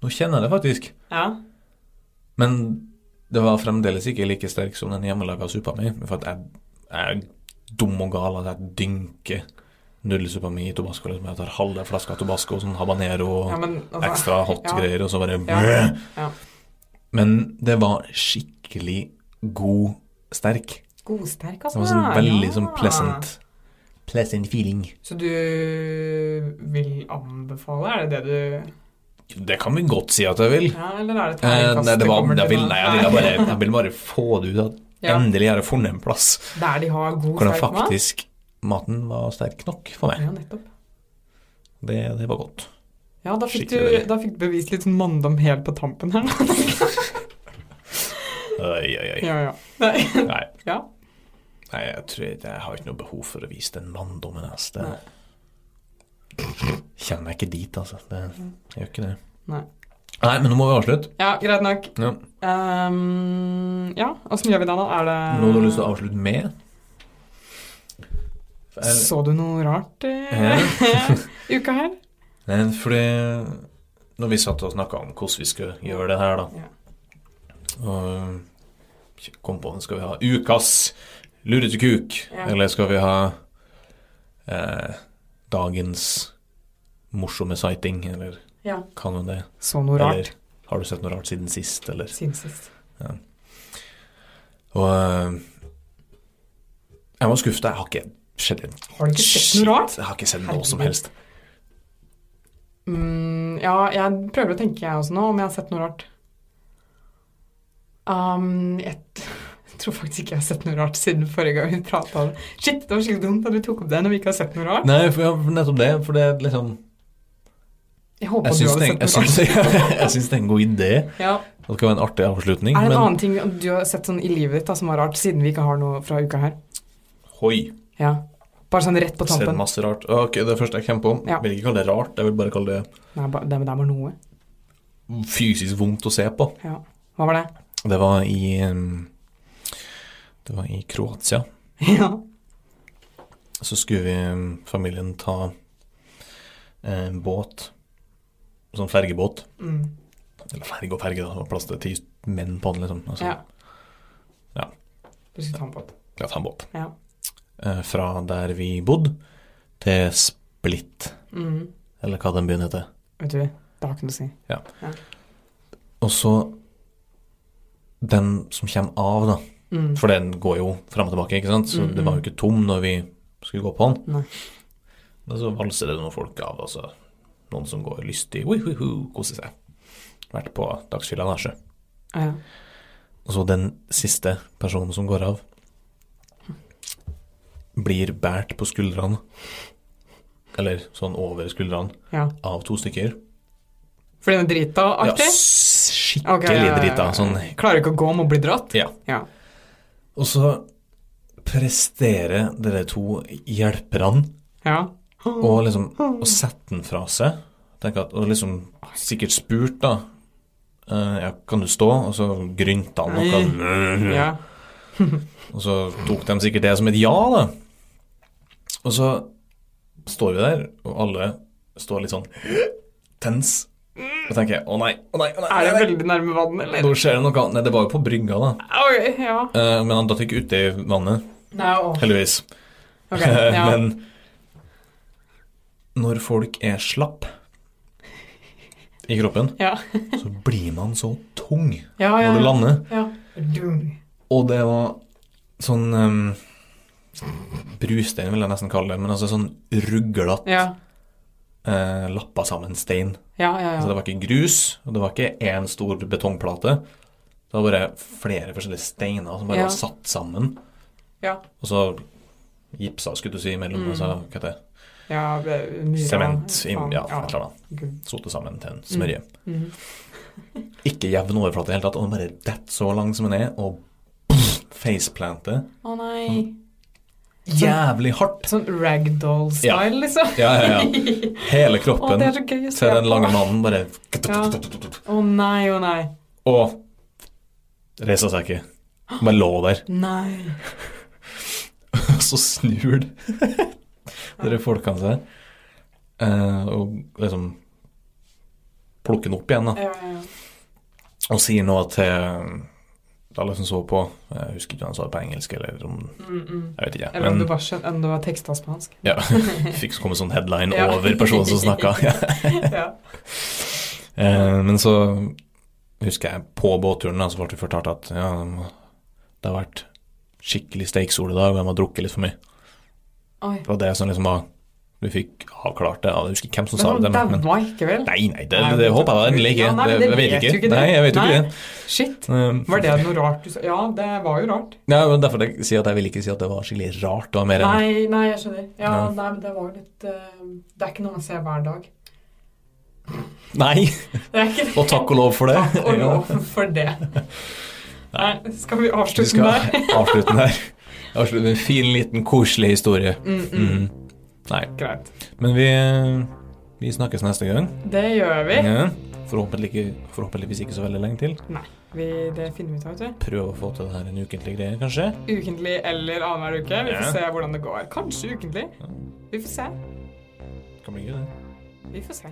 S2: nå kjenner jeg det faktisk.
S1: Ja.
S2: Men det var fremdeles ikke like sterk som den hjemmelaga suppa mi. For at jeg, jeg er dum og gal at jeg dynker nudelsuppa mi i tobasco. Liksom. Jeg tar halve flaska tobasco, sånn habanero og
S1: ja men, altså,
S2: ekstra hot
S1: ja.
S2: greier, og så bare
S1: Ja. Ja.
S2: Men det var skikkelig god sterk.
S1: Godsterk, altså.
S2: Det var sånn
S1: Ja,
S2: veldig
S1: ja.
S2: sånn pleasant Pleasant feeling.
S1: Så du vil anbefale, er det det du
S2: Det kan vi godt si at jeg vil.
S1: Ja, eller er det et
S2: Eh,
S1: hernekast
S2: nei, det
S1: du
S2: var,
S1: kommer
S2: jeg
S1: til
S2: vil,
S1: nå?
S2: nei, jeg, vil- jeg, bare, jeg vil bare få det ut at
S1: Ja,
S2: endelig har jeg funnet en plass
S1: Der de har god
S2: hvor den
S1: sterk mat?
S2: faktisk Maten var sterk nok for meg.
S1: Ja, nettopp.
S2: Det, det var godt.
S1: Ja, da fikk,
S2: Skikkelig
S1: du,
S2: deilig.
S1: da fikk du bevist litt sånn manndom helt på tampen her. nå.
S2: Oi, oi, oi.
S1: ja, ja. Nei.
S2: Nei.
S1: Ja.
S2: Nei, jeg tror ikke- jeg har ikke noe behov for å vise den manndommen. ass. Det
S1: Nei.
S2: Kjenner jeg ikke dit, altså. Det jeg gjør ikke det.
S1: Nei.
S2: Nei, men nå må vi avslutte.
S1: ja, greit nok.
S2: Ja.
S1: Ehm, ja, åssen gjør vi det, da? Er det
S2: Noe du har lyst
S1: Eh.
S2: til å avslutte med? For-
S1: Så du noe rart eh, uka her?
S2: Nei, fordi når vi satt og snakka om hvordan vi skulle gjøre det her, da
S1: Ja.
S2: Og kom på Skal vi ha ukas lurete kuk?
S1: Ja.
S2: Eller skal vi ha eh, dagens morsomme sighting? Eller
S1: Ja.
S2: kan hun det?
S1: Så noe
S2: Eller
S1: rart
S2: har du sett noe rart siden sist, eller?
S1: siden sist.
S2: Og eh, jeg må skuffe deg. Jeg har ikke sett en
S1: Har du ikke sett noe rart?
S2: Shit, Jeg har ikke sett noe som
S1: Herregud.
S2: helst.
S1: Mm, ja, jeg prøver å tenke jeg også nå, om jeg har sett noe rart. Um, jeg t- tror faktisk ikke jeg har sett noe rart siden forrige gang vi pratet om det. Shit, det var skikkelig dumt at du tok opp det når vi ikke har sett noe rart.
S2: Nei, for, ja, for nettopp det. For det er liksom
S1: Jeg
S2: Jeg
S1: håper du
S2: syns
S1: hadde
S2: det,
S1: sett
S2: jeg
S1: noe rart.
S2: syns, jeg syns det er en god idé.
S1: Ja.
S2: At det kan være en artig avslutning.
S1: Er det en
S2: Men
S1: annen ting du har sett sånn i livet ditt da, som var rart, siden vi ikke har noe fra uka her?
S2: hoi,
S1: Ja. Bare sånn rett på
S2: sett
S1: tampen.
S2: masse rart. Ok, Det første jeg kommer på,
S1: Ja.
S2: jeg vil ikke kalle det rart, jeg vil bare kalle det
S1: Nei, ba- det, det er bare noe.
S2: fysisk vondt å se på.
S1: Ja. Hva var det?
S2: Det var i um, Det var i Kroatia.
S1: Ja.
S2: Så skulle vi, um, familien ta en båt, sånn fergebåt,
S1: Mm.
S2: Eller ferge og ferge, da. Det var plass til ti menn på den, liksom. Altså,
S1: Ja.
S2: Ja.
S1: Du skulle ta den på.
S2: ja, ta en båt.
S1: Ja.
S2: Eh, fra der vi bodde, til Split,
S1: Mm.
S2: eller hva den byen heter.
S1: Vet du, det har ikke noe å si.
S2: Og så den som kommer av, da.
S1: Mm.
S2: For den går jo fram og tilbake, ikke sant? Så
S1: Mm,
S2: det var
S1: mm.
S2: jo ikke tom når vi skulle gå på den.
S1: Nei.
S2: Men så valser det noen folk av, altså. Noen som går lystig, wihuhu, koser seg. Vært på dagsfylla, da, sjø.
S1: Ja.
S2: Og så den siste personen som går av, blir båret på skuldrene, eller sånn over skuldrene,
S1: ja.
S2: av to stykker.
S1: For den er drita og
S2: Ja,
S1: artig?
S2: s- skikkelig
S1: Ok, ja, ja, ja.
S2: drita. Sånn
S1: Klarer ikke å gå, må bli dratt?
S2: Ja.
S1: Ja.
S2: Og så presterer dere to hjelperne
S1: ja.
S2: og liksom å sette den fra seg. Tenker at, og liksom sikkert spurt, da. eh, ja, kan du stå? Og så grynta han noe.
S1: ja.
S2: Og så tok de sikkert det som et ja, da. Og så står vi der, og alle står litt sånn tens. Og tenker jeg, å nei, å nei, å nei.
S1: Er det
S2: nei,
S1: veldig nærme vann,
S2: nei.
S1: eller?
S2: Nå skjer det noe. Nei, det var jo på brygga, da.
S1: Ok, ja.
S2: Eh, men han datt ikke uti vannet,
S1: Nei, å.
S2: heldigvis.
S1: Ok, ja.
S2: Men når folk er slapp i kroppen,
S1: Ja.
S2: så blir man så tung
S1: Ja, ja,
S2: når du
S1: ja.
S2: lander.
S1: ja. Dung.
S2: Og det var sånn um, Brustein vil jeg nesten kalle det, men altså sånn ruglete,
S1: Ja.
S2: eh, lappa sammen stein.
S1: Ja, ja,
S2: Så det
S1: ja.
S2: var ikke grus, og det var ikke én stor betongplate. Det var bare flere forskjellige steiner som bare
S1: Ja.
S2: var satt sammen.
S1: Ja.
S2: Og så gipsa, skulle du si, mellom
S1: Mm.
S2: altså, hva heter det?
S1: ja det- myra,
S2: Sement,
S1: faen,
S2: im- ja, et eller annet.
S1: Gud.
S2: Sote sammen til en smørje.
S1: Mhm.
S2: Ikke jevn overflate i det hele tatt, og den bare detter så lang som den er, og faceplante
S1: Å nei.
S2: jævlig hardt.
S1: Sånn ragdoll-style, liksom.
S2: Ja, ja, ja. Hele
S1: Å,
S2: kroppen
S1: det er så gøy å se
S2: til den lange
S1: på.
S2: mannen bare
S1: Ja. Å nei, å nei.
S2: Og reiser seg ikke. Bare lå der.
S1: Nei.
S2: Så snur det dere folkene seg, eh, og liksom plukker den opp igjen, da.
S1: Ja, ja, ja.
S2: Og sier noe til eh, alle som så på Jeg husker ikke om han sa det på engelsk, eller om
S1: Mm, mm.
S2: Jeg vet ikke.
S1: Eller om det
S2: Men
S1: bare skjønte om det var teksta spansk.
S2: ja, fikk komme sånn headline
S1: Ja.
S2: over personen som snakka.
S1: ja.
S2: Eh, Men så husker jeg på båtturen da, så ble vi fortalt at ja, det har vært skikkelig steiksol i dag, og de har drukket litt for mye.
S1: Oi.
S2: Det var det som liksom var Vi fikk avklart det. Ja, Jeg husker ikke hvem som sa
S1: Men
S2: det, men,
S1: han
S2: men
S1: daua ikke, vel?
S2: Nei, nei, det, det håper jeg da endelig ikke.
S1: Ja, nei, men
S2: Det-
S1: det
S2: jeg vet
S1: vet du
S2: ikke.
S1: ikke, det.
S2: Nei, jeg vet jo
S1: Nei.
S2: ikke det.
S1: Shit.
S2: Eh,
S1: Var det noe rart du sa? Ja, det var jo rart.
S2: Ja, men derfor jeg sier at jeg vil ikke si at det var skikkelig rart. Det var mer enn
S1: Nei, nei, jeg skjønner. Ja,
S2: Ja.
S1: nei, men det var jo litt eh, Det er ikke noe man ser hver dag.
S2: Nei!
S1: Det er ikke
S2: Og takk og lov for det.
S1: Takk og lov for det. Nei,
S2: Nei.
S1: skal vi
S2: Vi
S1: avslutte
S2: skal
S1: med det?
S2: avslutte den her. Avslutte med en fin, liten, koselig historie.
S1: Mm, mm.
S2: Mhm. Nei.
S1: Greit.
S2: Men vi, vi snakkes neste gang.
S1: Det gjør vi.
S2: Ja. Forhåpentlig ikke, forhåpentligvis ikke så veldig lenge til.
S1: vi. Det finner vi ut av, vet du.
S2: Prøve å få til det her en ukentlig greie, kanskje.
S1: Ukentlig eller annenhver uke. Vi
S2: Ja.
S1: får se hvordan det går. Kanskje ukentlig.
S2: Ja,
S1: Vi får se.
S2: kan bli gøy, det.
S1: Vi får se.